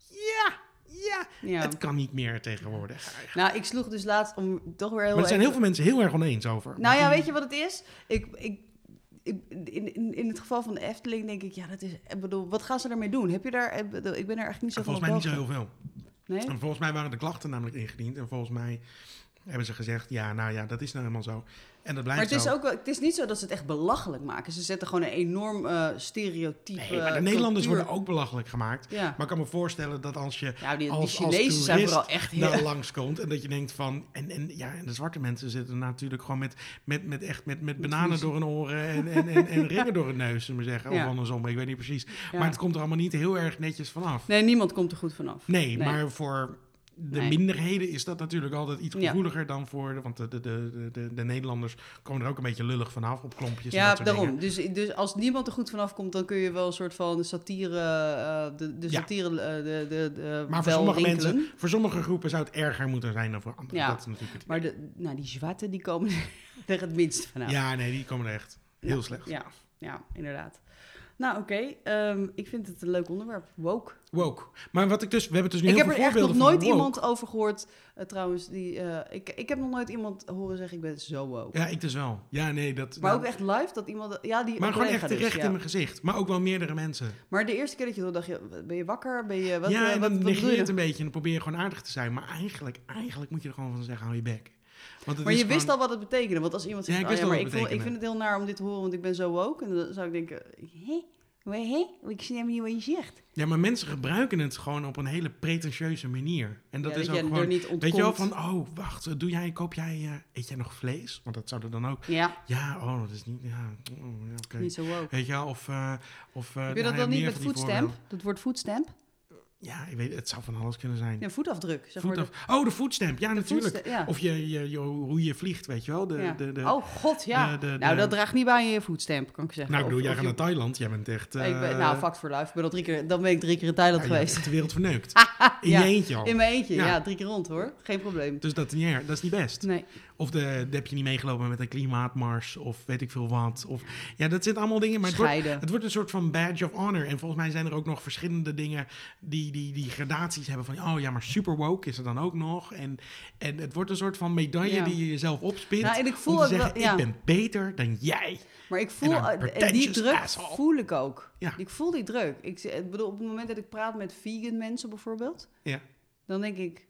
Speaker 1: Ja, ja,
Speaker 2: Ja.
Speaker 1: het kan niet meer tegenwoordig eigenlijk.
Speaker 2: Nou, ik sloeg dus laatst om toch weer heel
Speaker 1: Maar er zijn heel
Speaker 2: even-
Speaker 1: veel mensen heel erg oneens over.
Speaker 2: eh, Nou ja, weet je wat het is? Ik, ik, ik, in, in, in het geval van de Efteling denk ik, ja, dat is. Ik bedoel, wat gaan ze ermee doen? Heb je daar. Ik bedoel, ik ben er echt niet zo van.
Speaker 1: Volgens mij
Speaker 2: op
Speaker 1: niet zo
Speaker 2: de
Speaker 1: heel veel.
Speaker 2: hoogte. Nee?
Speaker 1: En volgens mij waren de klachten namelijk ingediend. En volgens mij hebben ze gezegd, ja, nou ja, dat is nou helemaal zo. En dat
Speaker 2: Maar
Speaker 1: blijft
Speaker 2: het is,
Speaker 1: zo.
Speaker 2: ook, wel- het is niet zo dat ze het echt belachelijk maken. Ze zetten gewoon een enorm eh stereotype.
Speaker 1: Nee, maar de
Speaker 2: eh,
Speaker 1: Nederlanders
Speaker 2: cultuur.
Speaker 1: worden ook belachelijk gemaakt.
Speaker 2: Ja.
Speaker 1: Maar ik kan me voorstellen dat als je
Speaker 2: Ja, die, die
Speaker 1: als, als
Speaker 2: Chinezen zijn
Speaker 1: toerist Nou.
Speaker 2: vooral echt heel.
Speaker 1: daar langskomt en dat je denkt van... En, en, ja, en de zwarte mensen zitten natuurlijk gewoon met, met, met, echt, met, met bananen
Speaker 2: ruzie.
Speaker 1: door hun oren en, en, en,
Speaker 2: <laughs>
Speaker 1: en ringen door hun neus, zullen we zeggen.
Speaker 2: Ja.
Speaker 1: Of andersom, ik weet niet precies.
Speaker 2: Ja.
Speaker 1: Maar het komt er allemaal niet heel erg netjes vanaf.
Speaker 2: Nee, niemand komt er goed vanaf.
Speaker 1: Nee,
Speaker 2: Nee.
Speaker 1: maar voor de
Speaker 2: Nee.
Speaker 1: minderheden is dat natuurlijk altijd iets
Speaker 2: Ja.
Speaker 1: gevoeliger dan voor... De, want de, de, de, de, de Nederlanders komen er ook een beetje lullig vanaf op klompjes en
Speaker 2: Ja,
Speaker 1: dat soort dingen.
Speaker 2: daarom. Dus, dus als niemand er goed vanaf komt, dan kun je wel een soort van satire. eh, de, de
Speaker 1: Ja.
Speaker 2: satire. eh, de, de, de
Speaker 1: Maar voor
Speaker 2: bel
Speaker 1: sommige,
Speaker 2: rinkelen.
Speaker 1: mensen, voor sommige groepen zou het erger moeten zijn dan voor anderen.
Speaker 2: Ja.
Speaker 1: Dat is natuurlijk het
Speaker 2: Maar de, nou, die zwarten die komen <laughs> er het minst vanaf.
Speaker 1: Ja, nee, die komen er echt heel
Speaker 2: Ja,
Speaker 1: slecht.
Speaker 2: Ja, ja inderdaad. Nou, oké. ehm, ik vind het een leuk onderwerp. Woke.
Speaker 1: Woke. Maar wat ik dus, we hebben dus nu
Speaker 2: Ik
Speaker 1: heel
Speaker 2: heb er
Speaker 1: veel
Speaker 2: echt nog
Speaker 1: voorbeelden
Speaker 2: nooit
Speaker 1: van woke.
Speaker 2: iemand over gehoord, eh, trouwens. Die, eh, ik, ik heb nog nooit iemand horen zeggen, ik ben zo woke.
Speaker 1: Ja, ik dus wel. Ja, nee, dat.
Speaker 2: Maar
Speaker 1: nou,
Speaker 2: ook echt live, dat iemand... Ja, die
Speaker 1: maar
Speaker 2: een
Speaker 1: gewoon
Speaker 2: collega
Speaker 1: echt
Speaker 2: dus,
Speaker 1: terecht
Speaker 2: ja.
Speaker 1: in mijn gezicht. Maar ook wel meerdere mensen.
Speaker 2: Maar de eerste keer dat je het hoorde, dacht je, ben je wakker? Ben je, wat,
Speaker 1: ja,
Speaker 2: eh,
Speaker 1: en
Speaker 2: wat,
Speaker 1: dan
Speaker 2: wat doe
Speaker 1: negeer
Speaker 2: je
Speaker 1: je het
Speaker 2: dan?
Speaker 1: een beetje en dan probeer je gewoon aardig te zijn. Maar eigenlijk, eigenlijk moet je er gewoon van zeggen, hou je bek. Want het
Speaker 2: Maar
Speaker 1: is
Speaker 2: je wist
Speaker 1: gewoon-
Speaker 2: al wat het betekende. Want als iemand
Speaker 1: Ja,
Speaker 2: zegt,
Speaker 1: ik
Speaker 2: oh
Speaker 1: wist al
Speaker 2: maar
Speaker 1: wat
Speaker 2: ik,
Speaker 1: het
Speaker 2: ik vind
Speaker 1: betekende.
Speaker 2: het heel naar om dit te horen, want ik ben zo woke. En dan zou ik denken, hé? Maar hé? Ik snap niet wat je zegt.
Speaker 1: Ja, maar mensen gebruiken het gewoon op een hele pretentieuze manier. En dat
Speaker 2: Ja,
Speaker 1: is
Speaker 2: dat
Speaker 1: ook
Speaker 2: je er
Speaker 1: gewoon...
Speaker 2: niet ontkomt.
Speaker 1: Weet je wel, van, oh, wacht, doe jij, koop jij, eh, eet jij nog vlees? Want dat zou er dan ook...
Speaker 2: Ja,
Speaker 1: Ja, oh, dat is niet... Ja, oh, ja, oké.
Speaker 2: niet zo woke.
Speaker 1: Weet je wel, of... eh, of eh,
Speaker 2: Heb je dat
Speaker 1: nou ja,
Speaker 2: dan niet
Speaker 1: meer
Speaker 2: met
Speaker 1: van die
Speaker 2: voetstamp? Dat wordt voetstamp?
Speaker 1: Ja, ik weet, het zou van alles kunnen zijn.
Speaker 2: Ja, voetafdruk. Zeg maar
Speaker 1: Voetaf- Oh, de voetstamp. Ja,
Speaker 2: de- de
Speaker 1: natuurlijk.
Speaker 2: voetsta- ja.
Speaker 1: Of je, je, je- hoe je vliegt, weet je wel. De,
Speaker 2: Ja.
Speaker 1: de, de,
Speaker 2: oh god, ja.
Speaker 1: de- de-
Speaker 2: nou,
Speaker 1: de-
Speaker 2: dat draagt niet bij aan je voetstamp, kan ik zeggen.
Speaker 1: Nou, ik bedoel,
Speaker 2: Of-
Speaker 1: jij
Speaker 2: of
Speaker 1: gaat
Speaker 2: je-
Speaker 1: naar Thailand. Jij bent echt...
Speaker 2: ik ben,
Speaker 1: eh,
Speaker 2: nou, fucked for life. Ik ben al drie keer, dan ben ik drie keer in Thailand
Speaker 1: ja, je
Speaker 2: geweest.
Speaker 1: hebt de wereld verneukt. In
Speaker 2: <laughs> Ja.
Speaker 1: je eentje al.
Speaker 2: In mijn eentje, ja.
Speaker 1: Ja.
Speaker 2: Drie keer rond, hoor. Geen probleem.
Speaker 1: Dus dat, is niet erg, dat is niet best.
Speaker 2: Nee.
Speaker 1: Of de, de heb je niet meegelopen met een klimaatmars of weet ik veel wat. Of, ja, dat zit allemaal dingen. Maar het wordt,
Speaker 2: Scheiden.
Speaker 1: het wordt een soort van badge of honor. En volgens mij zijn er ook nog verschillende dingen die, die, die gradaties hebben. Van, oh ja, maar super woke is er dan ook nog. En, en het wordt een soort van medaille
Speaker 2: Ja.
Speaker 1: die je jezelf opspint.
Speaker 2: Nou, en ik voel
Speaker 1: om te
Speaker 2: ook wel-
Speaker 1: zeggen,
Speaker 2: ja.
Speaker 1: ik ben beter dan jij.
Speaker 2: Maar ik voel,
Speaker 1: En een
Speaker 2: eh, en die
Speaker 1: pretentious
Speaker 2: druk
Speaker 1: asshole.
Speaker 2: voel ik ook.
Speaker 1: Ja.
Speaker 2: Ik voel die druk. Ik, z- ik bedoel, op het moment dat ik praat met vegan mensen bijvoorbeeld,
Speaker 1: Ja.
Speaker 2: dan denk ik,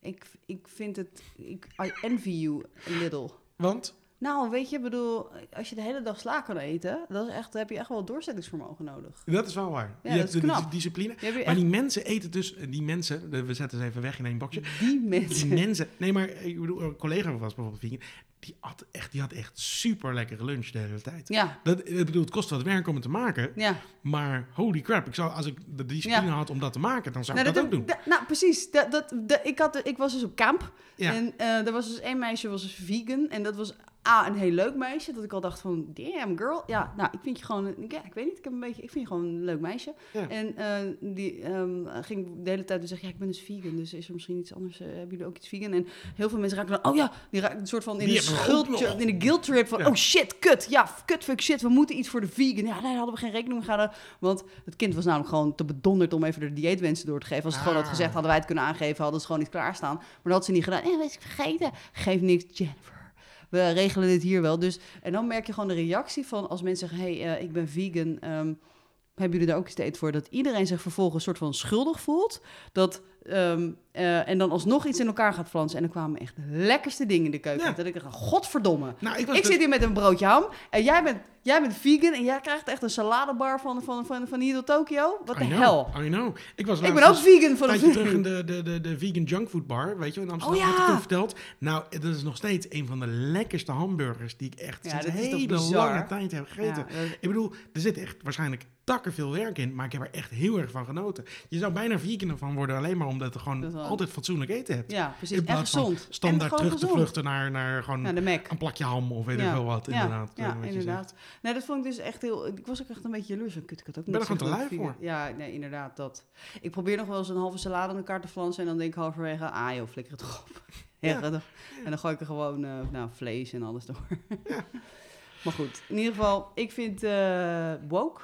Speaker 2: ik, ik vind het, ik, I envy you a little.
Speaker 1: Want,
Speaker 2: Nou, weet je, ik bedoel, als je de hele dag sla kan eten, dat is echt, dan heb je echt wel doorzettingsvermogen nodig.
Speaker 1: dat is wel waar.
Speaker 2: Ja,
Speaker 1: je
Speaker 2: dat
Speaker 1: hebt
Speaker 2: is
Speaker 1: de,
Speaker 2: knap.
Speaker 1: dis- discipline.
Speaker 2: Je hebt je
Speaker 1: Maar
Speaker 2: echt
Speaker 1: die mensen eten dus... Die mensen, we zetten ze even weg in één
Speaker 2: <laughs>
Speaker 1: bakje.
Speaker 2: die mensen.
Speaker 1: Die <laughs> mensen. Nee, maar eh, ik bedoel, een collega was bijvoorbeeld vegan. Die had echt, die had echt super lekkere lunch de hele tijd.
Speaker 2: Ja,
Speaker 1: Dat, ik bedoel, het kost wat werk om het te maken.
Speaker 2: ja.
Speaker 1: Maar holy crap, ik zou, als ik de discipline
Speaker 2: Ja.
Speaker 1: had om dat te maken, dan zou
Speaker 2: Nou,
Speaker 1: ik dat ook
Speaker 2: dat
Speaker 1: doen.
Speaker 2: heb- da- nou, precies. Dat, dat, dat- ik, had, ik was dus op kamp.
Speaker 1: Ja.
Speaker 2: En eh, er was dus één meisje, was dus vegan. En dat was A, een heel leuk meisje. Dat ik al dacht van, damn girl. Ja, nou, ik vind je gewoon... een- Ja, ik weet niet, ik, heb een beetje, ik vind je gewoon een leuk meisje.
Speaker 1: Ja.
Speaker 2: En eh, die ehm, ging de hele tijd dus zeggen, ja, ik ben dus vegan. Dus is er misschien iets anders? eh, hebben jullie ook iets vegan? En heel veel mensen raken dan, oh ja, die raken een soort van in
Speaker 1: Die
Speaker 2: een
Speaker 1: hebben we ook
Speaker 2: schuld,
Speaker 1: nog.
Speaker 2: in een guilt trip van,
Speaker 1: Ja.
Speaker 2: oh shit, kut. Ja, kut, fuck, shit, we moeten iets voor de vegan. Ja, nee, daar hadden we geen rekening mee gehouden. Want het kind was namelijk gewoon te bedonderd om even de dieetwensen door te geven. Als ze het gewoon had
Speaker 1: Ah.
Speaker 2: gezegd, hadden wij het kunnen aangeven, hadden ze gewoon niet klaarstaan. Maar dat had ze niet gedaan. Eh, was ik vergeten. Geef niks, Jennifer. We regelen dit hier wel. Dus, en dan merk je gewoon de reactie van als mensen zeggen, hey, eh, ik ben vegan. ehm, hebben jullie daar ook steeds voor dat iedereen zich vervolgens een soort van schuldig voelt? Dat, ehm, eh, en dan alsnog iets in elkaar gaat flansen. En er kwamen echt lekkerste dingen in de keuken.
Speaker 1: Ja.
Speaker 2: Dat ik dacht, godverdomme.
Speaker 1: Nou, ik was
Speaker 2: Ik
Speaker 1: dus-
Speaker 2: zit hier met een broodje ham en jij bent, jij bent vegan en jij krijgt echt een saladebar van, van, van, van hier tot Tokio. Wat de
Speaker 1: I know,
Speaker 2: hel.
Speaker 1: I know. Ik was
Speaker 2: Ik
Speaker 1: laatst
Speaker 2: ben ook
Speaker 1: dus
Speaker 2: vegan van
Speaker 1: een
Speaker 2: een
Speaker 1: tijdje terug in de, de, de, de vegan junkfoodbar, weet je, wel, in Amsterdam.
Speaker 2: Oh ja!
Speaker 1: Had ik toen verteld. Nou, dat is nog steeds een van de lekkerste hamburgers die ik echt
Speaker 2: Ja,
Speaker 1: sinds
Speaker 2: dat
Speaker 1: een
Speaker 2: is toch
Speaker 1: hele
Speaker 2: bizar?
Speaker 1: lange tijd heb gegeten.
Speaker 2: Ja, dat-
Speaker 1: Ik bedoel, er zit echt waarschijnlijk takken veel werk in, maar ik heb er echt heel erg van genoten. Je zou bijna vegan ervan worden, alleen maar omdat je gewoon
Speaker 2: Dat wel.
Speaker 1: altijd fatsoenlijk eten hebt.
Speaker 2: Ja, precies.
Speaker 1: in
Speaker 2: En
Speaker 1: plaats van
Speaker 2: gezond. en
Speaker 1: standaard
Speaker 2: gewoon
Speaker 1: terug
Speaker 2: gezond.
Speaker 1: te vluchten naar, naar gewoon
Speaker 2: Ja, de Mac.
Speaker 1: een plakje ham of weet ik veel wat, inderdaad.
Speaker 2: Ja,
Speaker 1: eh,
Speaker 2: ja,
Speaker 1: wat je
Speaker 2: inderdaad. Nee, dat vond ik dus echt heel... Ik was ook echt een beetje jaloers. van, Kut, ik had ook
Speaker 1: Ben
Speaker 2: net
Speaker 1: er gewoon
Speaker 2: zo
Speaker 1: te
Speaker 2: goed
Speaker 1: lui
Speaker 2: vegan- Ja, nee, inderdaad, dat. Ik probeer nog wel eens een halve salade in elkaar te flansen... en dan denk ik halverwege, ah joh, flikker het toch op. <laughs> Ja.
Speaker 1: Ja.
Speaker 2: En dan gooi ik er gewoon eh, nou, vlees en alles door. <laughs> Maar goed, in ieder geval, ik vind eh, woke...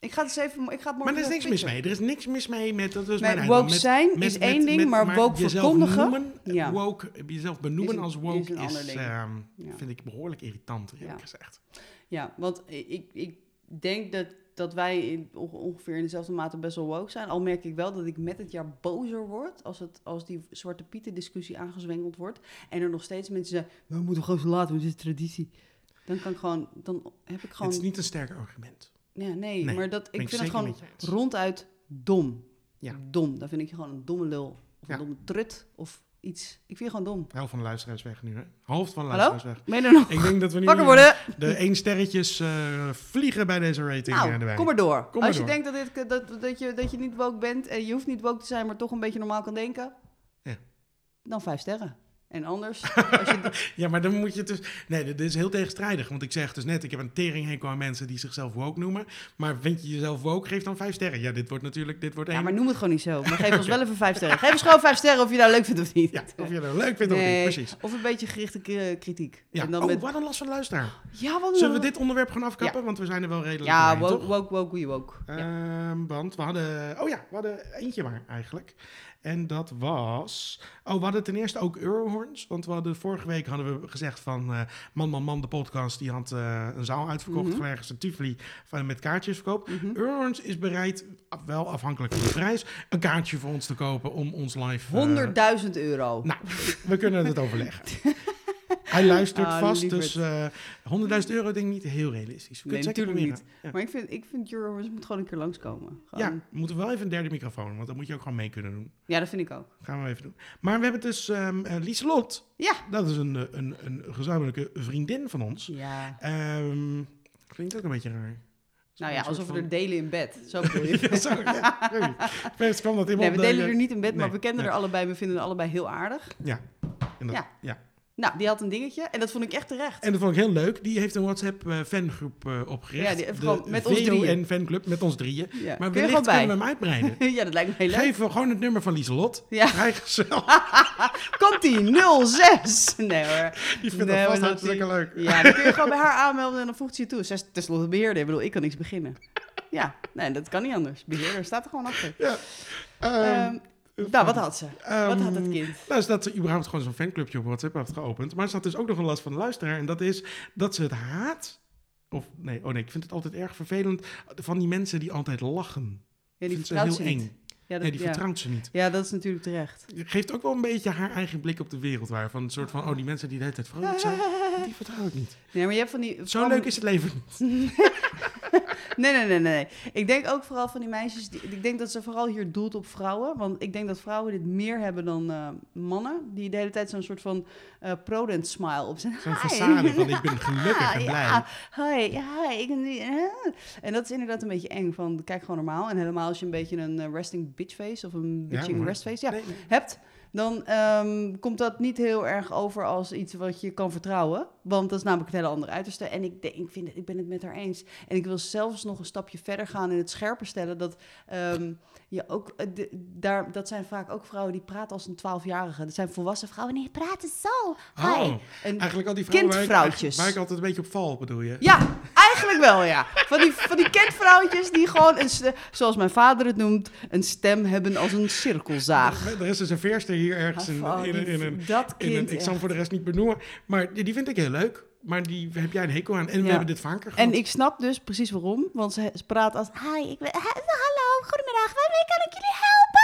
Speaker 2: Ik ga het eens even... Ik ga het morgen
Speaker 1: Maar er is
Speaker 2: even
Speaker 1: niks mis
Speaker 2: fixen.
Speaker 1: mee. Er is niks mis mee met... Dat is
Speaker 2: Nee,
Speaker 1: mijn eigen-
Speaker 2: woke
Speaker 1: met-
Speaker 2: zijn
Speaker 1: met-
Speaker 2: is
Speaker 1: met-
Speaker 2: één ding,
Speaker 1: met-
Speaker 2: maar woke
Speaker 1: jezelf
Speaker 2: verkondigen...
Speaker 1: noemen,
Speaker 2: Ja.
Speaker 1: woke, jezelf benoemen
Speaker 2: Is een-
Speaker 1: als
Speaker 2: is
Speaker 1: woke
Speaker 2: een
Speaker 1: is,
Speaker 2: ander ding.
Speaker 1: ehm,
Speaker 2: Ja.
Speaker 1: vind ik behoorlijk irritant, eerlijk
Speaker 2: Ja.
Speaker 1: gezegd.
Speaker 2: Ja, want ik, ik denk dat, dat wij in, onge- ongeveer in dezelfde mate best wel woke zijn. Al merk ik wel dat ik met het jaar bozer word als, het, als die Zwarte Pieten discussie aangezwengeld wordt. En er nog steeds mensen zeggen, we moeten gewoon zo laten, want dit is traditie. Dan kan ik gewoon, dan heb ik
Speaker 1: Het
Speaker 2: gewoon...
Speaker 1: is niet een sterk argument.
Speaker 2: Ja, nee,
Speaker 1: Nee,
Speaker 2: maar dat,
Speaker 1: ben
Speaker 2: ik
Speaker 1: ik
Speaker 2: vind het
Speaker 1: zeker
Speaker 2: gewoon
Speaker 1: met je eens.
Speaker 2: ronduit dom.
Speaker 1: Ja.
Speaker 2: Dom, daar vind ik je gewoon een domme lul. Of
Speaker 1: Ja.
Speaker 2: een domme trut, of iets. Ik vind je gewoon dom.
Speaker 1: Helft van de luisteraars weg nu, hè? Half van de
Speaker 2: Hallo?
Speaker 1: luisteraars weg.
Speaker 2: Meen er nog?
Speaker 1: Ik denk dat we nu
Speaker 2: Wakker worden!
Speaker 1: de één sterretjes eh, vliegen bij deze rating. eh,
Speaker 2: Nou,
Speaker 1: erbij.
Speaker 2: kom maar door.
Speaker 1: Kom maar
Speaker 2: Als je
Speaker 1: door.
Speaker 2: denkt dat, dit, dat, dat, je, dat je niet woke bent en je hoeft niet woke te zijn, maar toch een beetje normaal kan denken,
Speaker 1: Ja.
Speaker 2: dan vijf sterren. En
Speaker 1: <laughs>
Speaker 2: anders, als je,
Speaker 1: Ja, maar dan moet je het dus... Nee, dit is heel tegenstrijdig. Want ik zeg dus net, ik heb een teringhekel aan mensen die zichzelf woke noemen. Maar vind je jezelf woke, geef dan vijf sterren. Ja, dit wordt natuurlijk... Dit wordt één.
Speaker 2: ja, maar noem het gewoon niet zo. Maar geef
Speaker 1: <laughs>
Speaker 2: ons wel even vijf sterren. Geef ons gewoon vijf sterren of je dat leuk vindt of niet. eh,
Speaker 1: Ja, of je dat leuk vindt of
Speaker 2: Nee,
Speaker 1: niet, precies.
Speaker 2: Of een beetje gerichte k- kritiek.
Speaker 1: Ja.
Speaker 2: En dan
Speaker 1: oh,
Speaker 2: met,
Speaker 1: wat een last van de luisteraar.
Speaker 2: ja, wat
Speaker 1: Zullen we dit onderwerp gewoon afkappen? Want we zijn er wel redelijk
Speaker 2: Ja,
Speaker 1: doorheen,
Speaker 2: woke,
Speaker 1: toch?
Speaker 2: woke, woke, we woke. Ja.
Speaker 1: Ehm, want we hadden... Oh ja, we hadden eentje maar eigenlijk. En dat was... Oh, we hadden ten eerste ook Eurohorns. Want we hadden vorige week hadden we gezegd van... eh, man, man, man, de podcast. Die had eh, een zaal uitverkocht.
Speaker 2: Mhm.
Speaker 1: Van ergens een Tivoli van, met kaartjesverkoop.
Speaker 2: Mhm.
Speaker 1: Eurons is bereid, af- wel afhankelijk van de prijs, een kaartje voor ons te kopen om ons live... eh,
Speaker 2: 100.000 euro.
Speaker 1: nou, we kunnen het overleggen.
Speaker 2: <laughs>
Speaker 1: Hij luistert
Speaker 2: Ah,
Speaker 1: vast,
Speaker 2: lieverd.
Speaker 1: dus eh 100.000 euro denk ik niet heel realistisch. We
Speaker 2: Nee,
Speaker 1: kunnen het zeker
Speaker 2: natuurlijk
Speaker 1: proberen. Ja.
Speaker 2: Maar ik vind, ik vind Eurohorns moet gewoon een keer langskomen. Gewoon.
Speaker 1: Ja, we moeten wel even een derde microfoon, want dan moet je ook gewoon mee kunnen doen.
Speaker 2: ja, dat vind ik ook.
Speaker 1: Gaan we even doen. Maar we hebben dus ehm eh, Lieselot.
Speaker 2: Ja.
Speaker 1: Dat is een, eh, een, een gezamenlijke vriendin van ons.
Speaker 2: Ja.
Speaker 1: Ehm, klinkt ook een beetje raar.
Speaker 2: Nou ja,
Speaker 1: Een soort
Speaker 2: alsof we
Speaker 1: van-
Speaker 2: er delen in bed. Zo bedoel je.
Speaker 1: <laughs> ja,
Speaker 2: <laughs>
Speaker 1: sorry, ja, ik weet niet. Opeens kwam dat in me
Speaker 2: Nee,
Speaker 1: op
Speaker 2: we
Speaker 1: dat-
Speaker 2: delen er niet in bed, maar
Speaker 1: Nee,
Speaker 2: we kennen
Speaker 1: nee.
Speaker 2: er allebei. We vinden er allebei heel aardig.
Speaker 1: Ja. En dat,
Speaker 2: Ja.
Speaker 1: ja.
Speaker 2: Nou, die had een dingetje en dat vond ik echt terecht.
Speaker 1: En dat vond ik heel leuk. Die heeft een WhatsApp-fangroep eh, opgericht.
Speaker 2: Ja, die- gewoon
Speaker 1: de
Speaker 2: met ons drieën.
Speaker 1: en fanclub met ons drieën.
Speaker 2: Ja.
Speaker 1: Maar
Speaker 2: Kun je
Speaker 1: wellicht kunnen
Speaker 2: er
Speaker 1: we
Speaker 2: gewoon bij?
Speaker 1: hem uitbreiden.
Speaker 2: <laughs> ja, dat lijkt me heel leuk.
Speaker 1: Geef gewoon het nummer van Lieselot.
Speaker 2: Ja.
Speaker 1: Krijg zelf.
Speaker 2: <laughs> Komt die 06? Nee hoor.
Speaker 1: Die vindt dat
Speaker 2: Nee, maar
Speaker 1: vast
Speaker 2: dat
Speaker 1: hartstikke
Speaker 2: die-
Speaker 1: leuk.
Speaker 2: Ja, dan kun je gewoon bij haar aanmelden en dan voegt ze je toe. Zij is tenslotte beheerder. Ik bedoel, ik kan niks beginnen. Ja, nee, dat kan niet anders. Beheerder staat er gewoon achter.
Speaker 1: Ja. Ehm,
Speaker 2: Ehm, nou, wat had ze? Wat had het
Speaker 1: ehm,
Speaker 2: kind?
Speaker 1: Nou, is dat ze überhaupt gewoon zo'n fanclubje op WhatsApp heeft geopend. Maar ze had dus ook nog een last van de luisteraar. En dat is dat ze het haat. Of nee, oh nee, ik vind het altijd erg vervelend. Van die mensen die altijd lachen.
Speaker 2: Ja, die
Speaker 1: Vindt ze
Speaker 2: vertrouwt ze
Speaker 1: heel
Speaker 2: niet.
Speaker 1: eng.
Speaker 2: Ja, dat,
Speaker 1: Nee, die
Speaker 2: ja.
Speaker 1: vertrouwt ze niet.
Speaker 2: Ja, dat is natuurlijk terecht.
Speaker 1: geeft ook wel een beetje haar eigen blik op de wereld waar. Van een soort van, oh, die mensen die de hele tijd vrolijk
Speaker 2: <laughs>
Speaker 1: zijn, die vertrouw ik niet.
Speaker 2: Nee, maar je hebt van die...
Speaker 1: Zo leuk is het leven niet.
Speaker 2: Nee, nee, nee, nee. Ik denk ook vooral van die meisjes... Die, ik denk dat ze vooral hier doelt op vrouwen. Want ik denk dat vrouwen dit meer hebben dan eh, mannen. Die de hele tijd zo'n soort van eh prodent smile op zijn.
Speaker 1: Zo'n
Speaker 2: Hi. <laughs> Ah,
Speaker 1: façade van, ik ben gelukkig en blij.
Speaker 2: Ja, hi, ja, hi, ik ben die- eh. En dat is inderdaad een beetje eng. Van, kijk gewoon normaal. En helemaal als je een beetje een eh, resting bitch face... of een bitching
Speaker 1: hoor.
Speaker 2: rest face ja,
Speaker 1: Nee, nee.
Speaker 2: hebt... dan ehm, komt dat niet heel erg over als iets wat je kan vertrouwen. Want dat is namelijk het hele andere uiterste. En ik, denk, ik, vind het, ik ben het met haar eens. En ik wil zelfs nog een stapje verder gaan in het scherper stellen... dat ehm, je ook... eh, de- daar, dat zijn vaak ook vrouwen die praten als een twaalfjarige. Dat zijn volwassen vrouwen. Nee, praten zo. Hi.
Speaker 1: Oh,
Speaker 2: En-
Speaker 1: Eigenlijk al die vrouwen waar ik-
Speaker 2: Kindvrouwtjes.
Speaker 1: Waar ik altijd een beetje op val, bedoel je?
Speaker 2: ja, eigenlijk wel, ja. Van die, van die kentvrouwtjes die gewoon, een, ste- zoals mijn vader het noemt, een stem hebben als een cirkelzaag.
Speaker 1: Er is dus een veerster hier ergens in,
Speaker 2: Oh,
Speaker 1: in, in,
Speaker 2: die-
Speaker 1: in een...
Speaker 2: dat
Speaker 1: In een
Speaker 2: kind
Speaker 1: ik zal
Speaker 2: echt.
Speaker 1: hem voor de rest niet benoemen. Maar die, die vind ik heel leuk. Maar die heb jij een hekel aan. En we
Speaker 2: Ja.
Speaker 1: hebben dit vaker gehad.
Speaker 2: En ik snap dus precies waarom, want ze ze praat als... Hi, ik ben... ha- Hallo, goedemiddag, waarmee kan ik jullie helpen?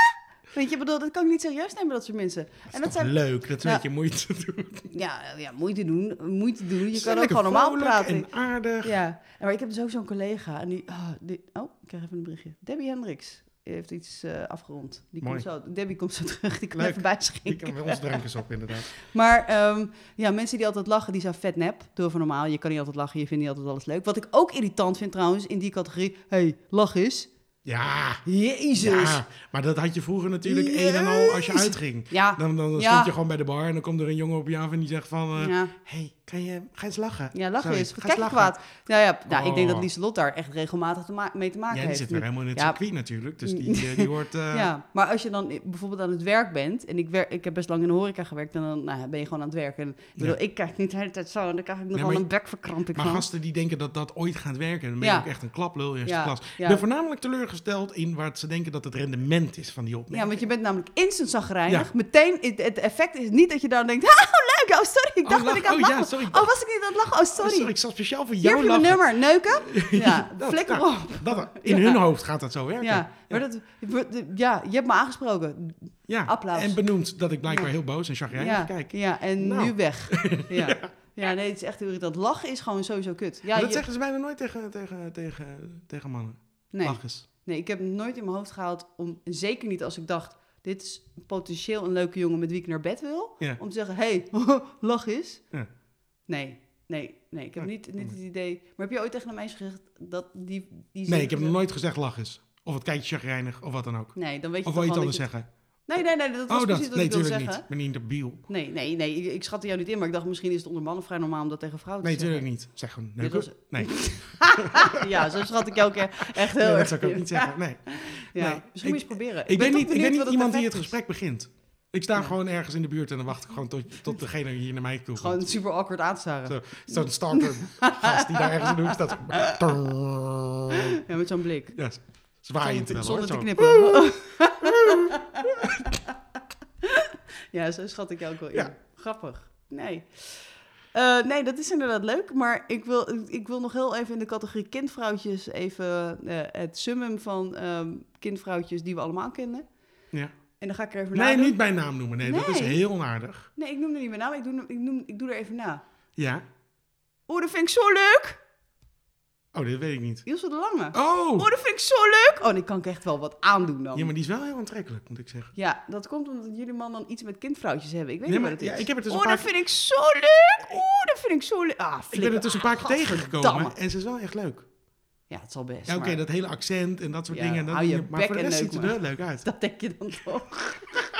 Speaker 2: Weet je, ik bedoel, dat kan ik niet serieus nemen, dat soort mensen.
Speaker 1: dat is
Speaker 2: en dat
Speaker 1: toch
Speaker 2: zijn...
Speaker 1: leuk. Dat is een
Speaker 2: Ja.
Speaker 1: beetje moeite doen.
Speaker 2: Ja, ja, moeite doen, moeite doen. Je
Speaker 1: Ze
Speaker 2: kan
Speaker 1: zijn
Speaker 2: ook
Speaker 1: lekker
Speaker 2: gewoon normaal
Speaker 1: vrolijk
Speaker 2: praten.
Speaker 1: en aardig.
Speaker 2: Ja, en maar ik heb dus ook zo'n collega. En die, ah, die- oh, ik krijg even een berichtje. Debbie Hendricks heeft iets eh, afgerond. Die
Speaker 1: Mooi.
Speaker 2: komt zo, Debbie komt zo <laughs> terug, die kan
Speaker 1: Leuk.
Speaker 2: even bijschenken.
Speaker 1: Die kan bij ons drankjes op, inderdaad.
Speaker 2: Maar ehm, ja, mensen die altijd lachen, die zijn vet nep. Doe even normaal, je kan niet altijd lachen, je vindt niet altijd alles leuk. Wat ik ook irritant vind trouwens, in die categorie, hey, lach eens.
Speaker 1: Ja,
Speaker 2: Jezus.
Speaker 1: Ja, maar dat had je vroeger natuurlijk
Speaker 2: Jezus.
Speaker 1: één en al als je uitging.
Speaker 2: Ja.
Speaker 1: Dan, dan, dan
Speaker 2: Ja.
Speaker 1: stond je gewoon bij de bar en dan komt er een jongen op je af en die zegt van... eh,
Speaker 2: Ja.
Speaker 1: hey, kan je, ga eens lachen.
Speaker 2: Ja, lach
Speaker 1: Sorry,
Speaker 2: eens.
Speaker 1: ga
Speaker 2: Wat kijk je
Speaker 1: lachen.
Speaker 2: kwaad? Nou ja, nou, ik denk dat
Speaker 1: Oh.
Speaker 2: Lieselot daar echt regelmatig te ma- mee te maken
Speaker 1: Ja, die
Speaker 2: heeft.
Speaker 1: zit weer helemaal in het
Speaker 2: Ja.
Speaker 1: circuit natuurlijk. Dus die, eh,
Speaker 2: <laughs>
Speaker 1: die hoort... eh,
Speaker 2: Ja, maar als je dan i- bijvoorbeeld aan het werk bent... en ik, werk, ik heb best lang in de horeca gewerkt... en dan nou, ben je gewoon aan het werk. En, ik, bedoel, ik kijk niet de hele tijd zo... en dan krijg ik nogal
Speaker 1: maar je-
Speaker 2: een bekverkramping
Speaker 1: Maar
Speaker 2: van.
Speaker 1: gasten die denken dat dat ooit gaat werken, dan ben je
Speaker 2: Ja.
Speaker 1: ook echt een klaplul eerste
Speaker 2: Ja,
Speaker 1: klas.
Speaker 2: ja.
Speaker 1: Ik ben voornamelijk teleurgesteld in waar ze denken dat het rendement is van die opmerking.
Speaker 2: Ja, want je bent namelijk instant zagrijnig.
Speaker 1: Ja.
Speaker 2: Meteen, het, het effect is niet dat je dan denkt... <laughs> Oh, leuk, neuken. Oh, sorry. Ik dacht
Speaker 1: Oh,
Speaker 2: dat ik
Speaker 1: lach-
Speaker 2: aan
Speaker 1: oh,
Speaker 2: het
Speaker 1: ja,
Speaker 2: lachen
Speaker 1: sorry.
Speaker 2: Oh, was ik niet aan het lachen? Oh, sorry.
Speaker 1: Sorry, ik zat speciaal voor
Speaker 2: Hier
Speaker 1: jou
Speaker 2: heb je mijn
Speaker 1: lachen.
Speaker 2: nummer. Neuken?
Speaker 1: <laughs>
Speaker 2: Ja,
Speaker 1: Dat-
Speaker 2: flikker
Speaker 1: nou,
Speaker 2: op.
Speaker 1: dat- in
Speaker 2: Ja.
Speaker 1: hun hoofd gaat dat zo werken.
Speaker 2: Ja, maar dat, wordt- ja, je hebt me aangesproken.
Speaker 1: Ja,
Speaker 2: Applaus.
Speaker 1: En benoemd dat ik blijkbaar heel boos en chagrijnig
Speaker 2: ja,
Speaker 1: kijk.
Speaker 2: ja, en
Speaker 1: Nou.
Speaker 2: nu weg.
Speaker 1: <laughs>
Speaker 2: Ja. ja, nee, het is echt heel irritant. Lachen is gewoon sowieso kut. Ja,
Speaker 1: Maar dat
Speaker 2: je-
Speaker 1: zeggen ze bijna nooit tegen, tegen, tegen, tegen mannen.
Speaker 2: nee,
Speaker 1: Lach eens.
Speaker 2: nee, ik heb het nooit in mijn hoofd gehaald. Om, en zeker niet als ik dacht, dit is potentieel een leuke jongen met wie ik naar bed wil.
Speaker 1: Ja.
Speaker 2: Om te zeggen, hé, hey, <laughs> lach eens.
Speaker 1: Ja.
Speaker 2: Nee, nee, nee. Ik heb
Speaker 1: Ja,
Speaker 2: niet, niet het idee... Maar heb je ooit tegen een meisje gezegd dat die... die
Speaker 1: Nee, ik heb nog
Speaker 2: zegt-
Speaker 1: nooit gezegd lach eens. Of het kijkt chagrijnig, of wat dan ook.
Speaker 2: Nee, dan weet je
Speaker 1: Of wil je
Speaker 2: toch
Speaker 1: iets anders
Speaker 2: wel dat je-
Speaker 1: zeggen?
Speaker 2: Nee, nee, nee, dat was
Speaker 1: Oh,
Speaker 2: precies
Speaker 1: dat.
Speaker 2: wat
Speaker 1: Nee,
Speaker 2: ik wilde
Speaker 1: natuurlijk
Speaker 2: zeggen.
Speaker 1: niet. Maar niet in de biel.
Speaker 2: Nee, nee, nee. Ik, ik schatte jou niet in, maar ik dacht misschien is het onder mannen vrij normaal om dat tegen vrouwen
Speaker 1: Nee,
Speaker 2: te zeggen.
Speaker 1: natuurlijk niet. Zeg gewoon
Speaker 2: Dit
Speaker 1: neuken. Nee,
Speaker 2: Ja, zo schat ik jou ook e- echt heel
Speaker 1: Nee,
Speaker 2: erg
Speaker 1: dat zou ik ook
Speaker 2: in.
Speaker 1: niet zeggen. Nee.
Speaker 2: Ja,
Speaker 1: Nee,
Speaker 2: misschien moet
Speaker 1: ik-
Speaker 2: je eens proberen.
Speaker 1: Ik ben
Speaker 2: toch
Speaker 1: niet, ik
Speaker 2: benieuwd
Speaker 1: ben niet
Speaker 2: wat
Speaker 1: iemand die
Speaker 2: effect
Speaker 1: het
Speaker 2: is.
Speaker 1: gesprek begint. Ik sta
Speaker 2: Ja.
Speaker 1: gewoon ergens in de buurt en dan wacht ik gewoon tot, tot degene hier naar mij toe komt.
Speaker 2: Gewoon super awkward aanstaren.
Speaker 1: Zo- Zo'n stalker gast die daar ergens in de hoek
Speaker 2: <laughs>
Speaker 1: staat. Zo-
Speaker 2: Ja, met zo'n blik.
Speaker 1: Ja, zwaaiend Oh, wel
Speaker 2: Zonder,
Speaker 1: hoor.
Speaker 2: zonder te
Speaker 1: Zo.
Speaker 2: knippen. <laughs> ja, zo schat ik jou ook wel in.
Speaker 1: Ja.
Speaker 2: Grappig. Nee. Eh, nee, dat is inderdaad leuk, maar ik wil, ik wil nog heel even in de categorie kindvrouwtjes even eh, het summum van ehm, kindvrouwtjes die we allemaal kennen.
Speaker 1: Ja.
Speaker 2: En dan ga ik er even
Speaker 1: Nee,
Speaker 2: nadoen.
Speaker 1: niet mijn naam noemen. Nee, dat is
Speaker 2: Nee.
Speaker 1: heel onaardig.
Speaker 2: Nee, ik noem er niet meer naam, ik doe, ik, noem, ik doe er even na.
Speaker 1: Ja.
Speaker 2: Oeh, dat vind ik zo leuk!
Speaker 1: Oh, dit weet ik niet.
Speaker 2: Ilse de Lange.
Speaker 1: Oh!
Speaker 2: Oh, dat vind ik zo leuk! Oh, die kan ik echt wel wat aandoen dan.
Speaker 1: Ja, maar die is wel heel aantrekkelijk, moet ik zeggen.
Speaker 2: Ja, dat komt omdat jullie man dan iets met kindvrouwtjes hebben. Ik weet
Speaker 1: Nee,
Speaker 2: niet
Speaker 1: maar
Speaker 2: wat het is.
Speaker 1: ja, ik heb het dus
Speaker 2: oh,
Speaker 1: een paar
Speaker 2: dat vind ik zo leuk! Oeh, dat vind ik zo leuk! Ah,
Speaker 1: Ik ben
Speaker 2: flikker.
Speaker 1: er dus een paar keer
Speaker 2: Ah, gadverdamme.
Speaker 1: tegengekomen en ze is wel echt leuk.
Speaker 2: Ja, het zal best.
Speaker 1: Ja, oké,
Speaker 2: <laughs> maar dat...
Speaker 1: dat hele accent en dat soort
Speaker 2: Ja,
Speaker 1: dingen. en Dat,
Speaker 2: hou je
Speaker 1: maar
Speaker 2: bek
Speaker 1: voor de
Speaker 2: en
Speaker 1: rest
Speaker 2: neuk
Speaker 1: ziet ze
Speaker 2: maar.
Speaker 1: er leuk uit.
Speaker 2: denk je dan toch.
Speaker 1: <laughs>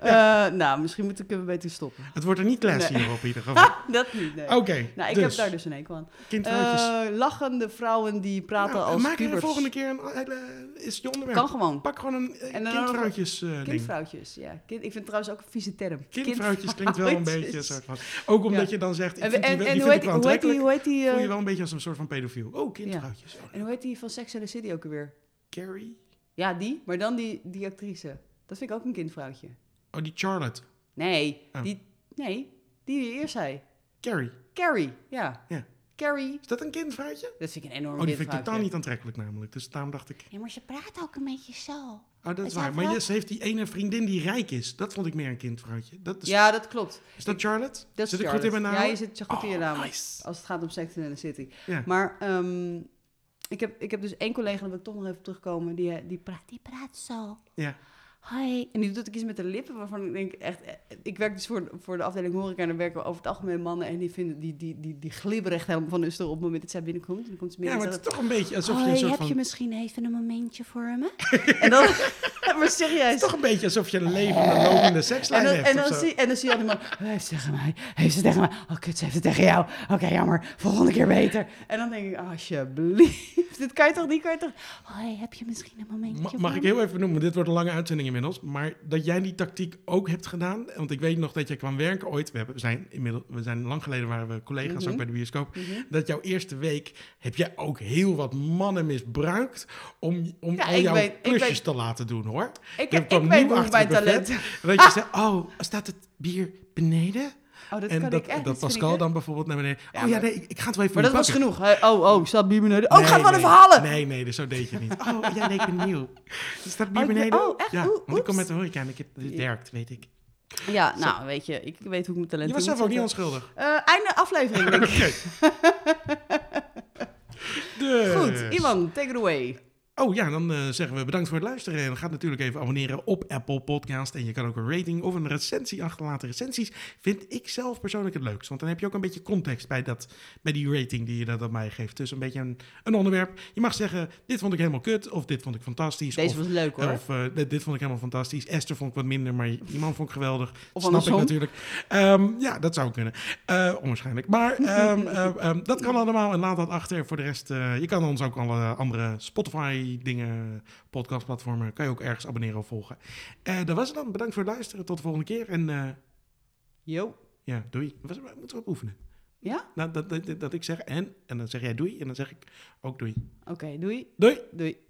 Speaker 2: Eh, nou, misschien moet ik er beter stoppen.
Speaker 1: Het wordt er niet classy
Speaker 2: Nee.
Speaker 1: hier op in ieder geval.
Speaker 2: <laughs> dat niet, nee.
Speaker 1: Oké,
Speaker 2: nou, ik
Speaker 1: dus,
Speaker 2: heb daar dus een hekel aan.
Speaker 1: kindvrouwtjes.
Speaker 2: Eh, lachende vrouwen die praten
Speaker 1: Nou,
Speaker 2: als
Speaker 1: maak er de
Speaker 2: pubers.
Speaker 1: volgende keer een eh, hele... Is je onderwerp.
Speaker 2: Kan gewoon.
Speaker 1: Pak gewoon een eh,
Speaker 2: En dan
Speaker 1: kindvrouwtjes eh, ding.
Speaker 2: Kindvrouwtjes, ja. Kind, ik vind het trouwens ook een vieze term.
Speaker 1: Kindvrouwtjes klinkt wel een beetje een soort van... Ook omdat
Speaker 2: Ja.
Speaker 1: je dan zegt, ik
Speaker 2: En,
Speaker 1: vind die,
Speaker 2: en,
Speaker 1: die
Speaker 2: en
Speaker 1: vind
Speaker 2: hoe,
Speaker 1: ik
Speaker 2: heet,
Speaker 1: wel
Speaker 2: hoe heet die,
Speaker 1: aantrekkelijk.
Speaker 2: hoe heet die, eh,
Speaker 1: Voel je wel een beetje als een soort van pedofiel. Oh, kindvrouwtjes. Oh,
Speaker 2: en hoe heet die van Sex and the City ook alweer?
Speaker 1: Carrie?
Speaker 2: Ja, die. Maar dan die, die actrice. Dat vind ik ook een kindvrouwtje.
Speaker 1: Oh, die Charlotte.
Speaker 2: Nee,
Speaker 1: Oh.
Speaker 2: die, nee, die die eerst zei.
Speaker 1: Carrie.
Speaker 2: Carrie, ja.
Speaker 1: Ja.
Speaker 2: Carrie.
Speaker 1: Is dat een kindvrouwtje?
Speaker 2: Dat vind ik een enorm
Speaker 1: Oh, die vind ik
Speaker 2: kindvrouwtje.
Speaker 1: totaal niet aantrekkelijk namelijk. Dus daarom dacht ik...
Speaker 4: Ja, maar ze praat ook een beetje zo.
Speaker 1: Oh, dat is
Speaker 4: Het
Speaker 1: waar.
Speaker 4: zijn
Speaker 1: Maar
Speaker 4: wel-
Speaker 1: yes, ze heeft die ene vriendin die rijk is. Dat vond ik meer een kindvrouwtje. Dat is,
Speaker 2: Ja, dat klopt.
Speaker 1: is dat Charlotte?
Speaker 2: Dat
Speaker 1: zit
Speaker 2: is
Speaker 1: ik goed in mijn
Speaker 2: Charlotte.
Speaker 1: naam?
Speaker 2: Ja, je zit zo goed in je
Speaker 1: Oh,
Speaker 2: naam.
Speaker 1: nice.
Speaker 2: Als het gaat om Sex and the City.
Speaker 1: Ja.
Speaker 2: Maar ehm, ik, heb, ik heb dus één collega, daar wil ik toch nog even op terugkomen, die, eh, die praat.
Speaker 4: Die praat zo.
Speaker 1: Ja.
Speaker 4: Hoi.
Speaker 2: En die doet ook iets met de lippen, waarvan ik denk echt... eh, Ik werk dus voor, voor de afdeling horeca en daar werken we over het algemeen mannen. En die, vinden, die, die, die, die glibberen echt helemaal van hun stoel op het moment dat zij binnenkomt. En dan komt ze
Speaker 1: ja,
Speaker 2: binnen
Speaker 1: maar
Speaker 2: en
Speaker 1: het is toch een beetje alsof
Speaker 2: Oh,
Speaker 1: je een
Speaker 4: Hoi,
Speaker 1: soort
Speaker 4: heb
Speaker 1: van...
Speaker 4: je
Speaker 1: <laughs>
Speaker 4: misschien even een momentje voor me?
Speaker 2: zegt- En dan... <laughs> maar
Speaker 1: Het
Speaker 2: serieus.
Speaker 1: is <laughs> toch een beetje alsof je een levende, lopende
Speaker 2: En
Speaker 1: sekslijn
Speaker 2: dan,
Speaker 1: hebt
Speaker 2: en,
Speaker 1: of
Speaker 2: dan
Speaker 1: zo.
Speaker 2: zie, en dan zie je allemaal, heeft ze tegen mij, heeft ze tegen mij, oh kut, ze heeft het tegen jou, oké jammer, volgende keer beter. En dan denk ik, alsjeblieft, dit kan je toch niet, kan je toch...
Speaker 4: Hoi, heb je misschien een momentje
Speaker 1: Ma-
Speaker 4: voor
Speaker 1: Mag
Speaker 4: me?
Speaker 1: ik heel even noemen, dit wordt een lange uitzending inmiddels, maar dat jij die tactiek ook hebt gedaan, want ik weet nog dat jij kwam werken ooit, we, hebben, we zijn inmiddels, we zijn lang geleden waren we collega's
Speaker 2: Mhm.
Speaker 1: ook bij de bioscoop, dat jouw eerste week heb jij ook heel wat mannen misbruikt om, om
Speaker 2: Ja,
Speaker 1: al
Speaker 2: ik
Speaker 1: jouw
Speaker 2: weet- ik
Speaker 1: klusjes
Speaker 2: weet-
Speaker 1: te laten doen hoor.
Speaker 2: Ik,
Speaker 1: Er
Speaker 2: ik
Speaker 1: kwam
Speaker 2: weet
Speaker 1: nieuw
Speaker 2: nog
Speaker 1: achter
Speaker 2: mijn
Speaker 1: het buffet.
Speaker 2: talent.
Speaker 1: Dat
Speaker 2: <laughs>
Speaker 1: je zei, oh, staat het bier beneden?
Speaker 2: Oh, dat
Speaker 1: en
Speaker 2: kan
Speaker 1: dat,
Speaker 2: ik echt,
Speaker 1: dat
Speaker 2: dat vind ik
Speaker 1: Pascal
Speaker 2: echt-
Speaker 1: dan bijvoorbeeld naar beneden,
Speaker 2: Ja,
Speaker 1: oh ja,
Speaker 2: maar-
Speaker 1: nee, ik, ik ga het wel even
Speaker 2: Maar dat was
Speaker 1: pakken.
Speaker 2: genoeg. Hey, oh, oh, staat bier beneden. Oh, ik
Speaker 1: Nee,
Speaker 2: ga het wel
Speaker 1: nee.
Speaker 2: even halen.
Speaker 1: Nee, nee, dus zo deed je niet. Dus Oh, jij leek benieuwd. Er staat bier
Speaker 2: Oh, ik-
Speaker 1: beneden.
Speaker 2: oh, echt?
Speaker 1: Ja,
Speaker 2: Oeh,
Speaker 1: want ik kom
Speaker 2: oeps.
Speaker 1: met de horeca en ik heb dit werkt, weet ik.
Speaker 2: Ja, nou, weet je, ik weet hoe ik mijn talent
Speaker 1: Je was zelf ook niet
Speaker 2: <laughs>
Speaker 1: onschuldig.
Speaker 2: Eh, einde aflevering, <laughs> denk ik.
Speaker 1: Dus.
Speaker 2: Goed, Ivan, take it away.
Speaker 1: Oh ja, dan eh, zeggen we bedankt voor het luisteren. En ga natuurlijk even abonneren op Apple Podcast. En je kan ook een rating of een recensie achterlaten. Recensies vind ik zelf persoonlijk het leukst. Want dan heb je ook een beetje context bij, dat, bij die rating die je dat aan mij geeft. Dus een beetje een, een onderwerp. Je mag zeggen, dit vond ik helemaal kut. Of dit vond ik fantastisch. of,
Speaker 2: Deze was leuk, hoor.
Speaker 1: Of eh, dit, dit vond ik helemaal fantastisch. Esther vond ik wat minder, maar die man vond ik geweldig.
Speaker 2: Of
Speaker 1: Snap
Speaker 2: andersom.
Speaker 1: ik natuurlijk. Ehm, ja, dat zou kunnen. Eh, onwaarschijnlijk.
Speaker 2: <laughs>
Speaker 1: Maar ehm, ehm, ehm, dat kan allemaal en laat dat achter. Voor de rest, eh, je kan ons ook alle andere Spotify-dingen, podcastplatformen, kan je ook ergens abonneren of volgen. Eh, dat was het dan. Bedankt voor het luisteren. Tot de volgende keer. En eh,
Speaker 2: Yo.
Speaker 1: ja, doei. Was- Moeten we op oefenen?
Speaker 2: Ja?
Speaker 1: Nou, dat, dat, dat ik zeg en, en dan zeg jij doei. En dan zeg ik ook doei.
Speaker 2: Oké, doei.
Speaker 1: Doei!
Speaker 2: Doei.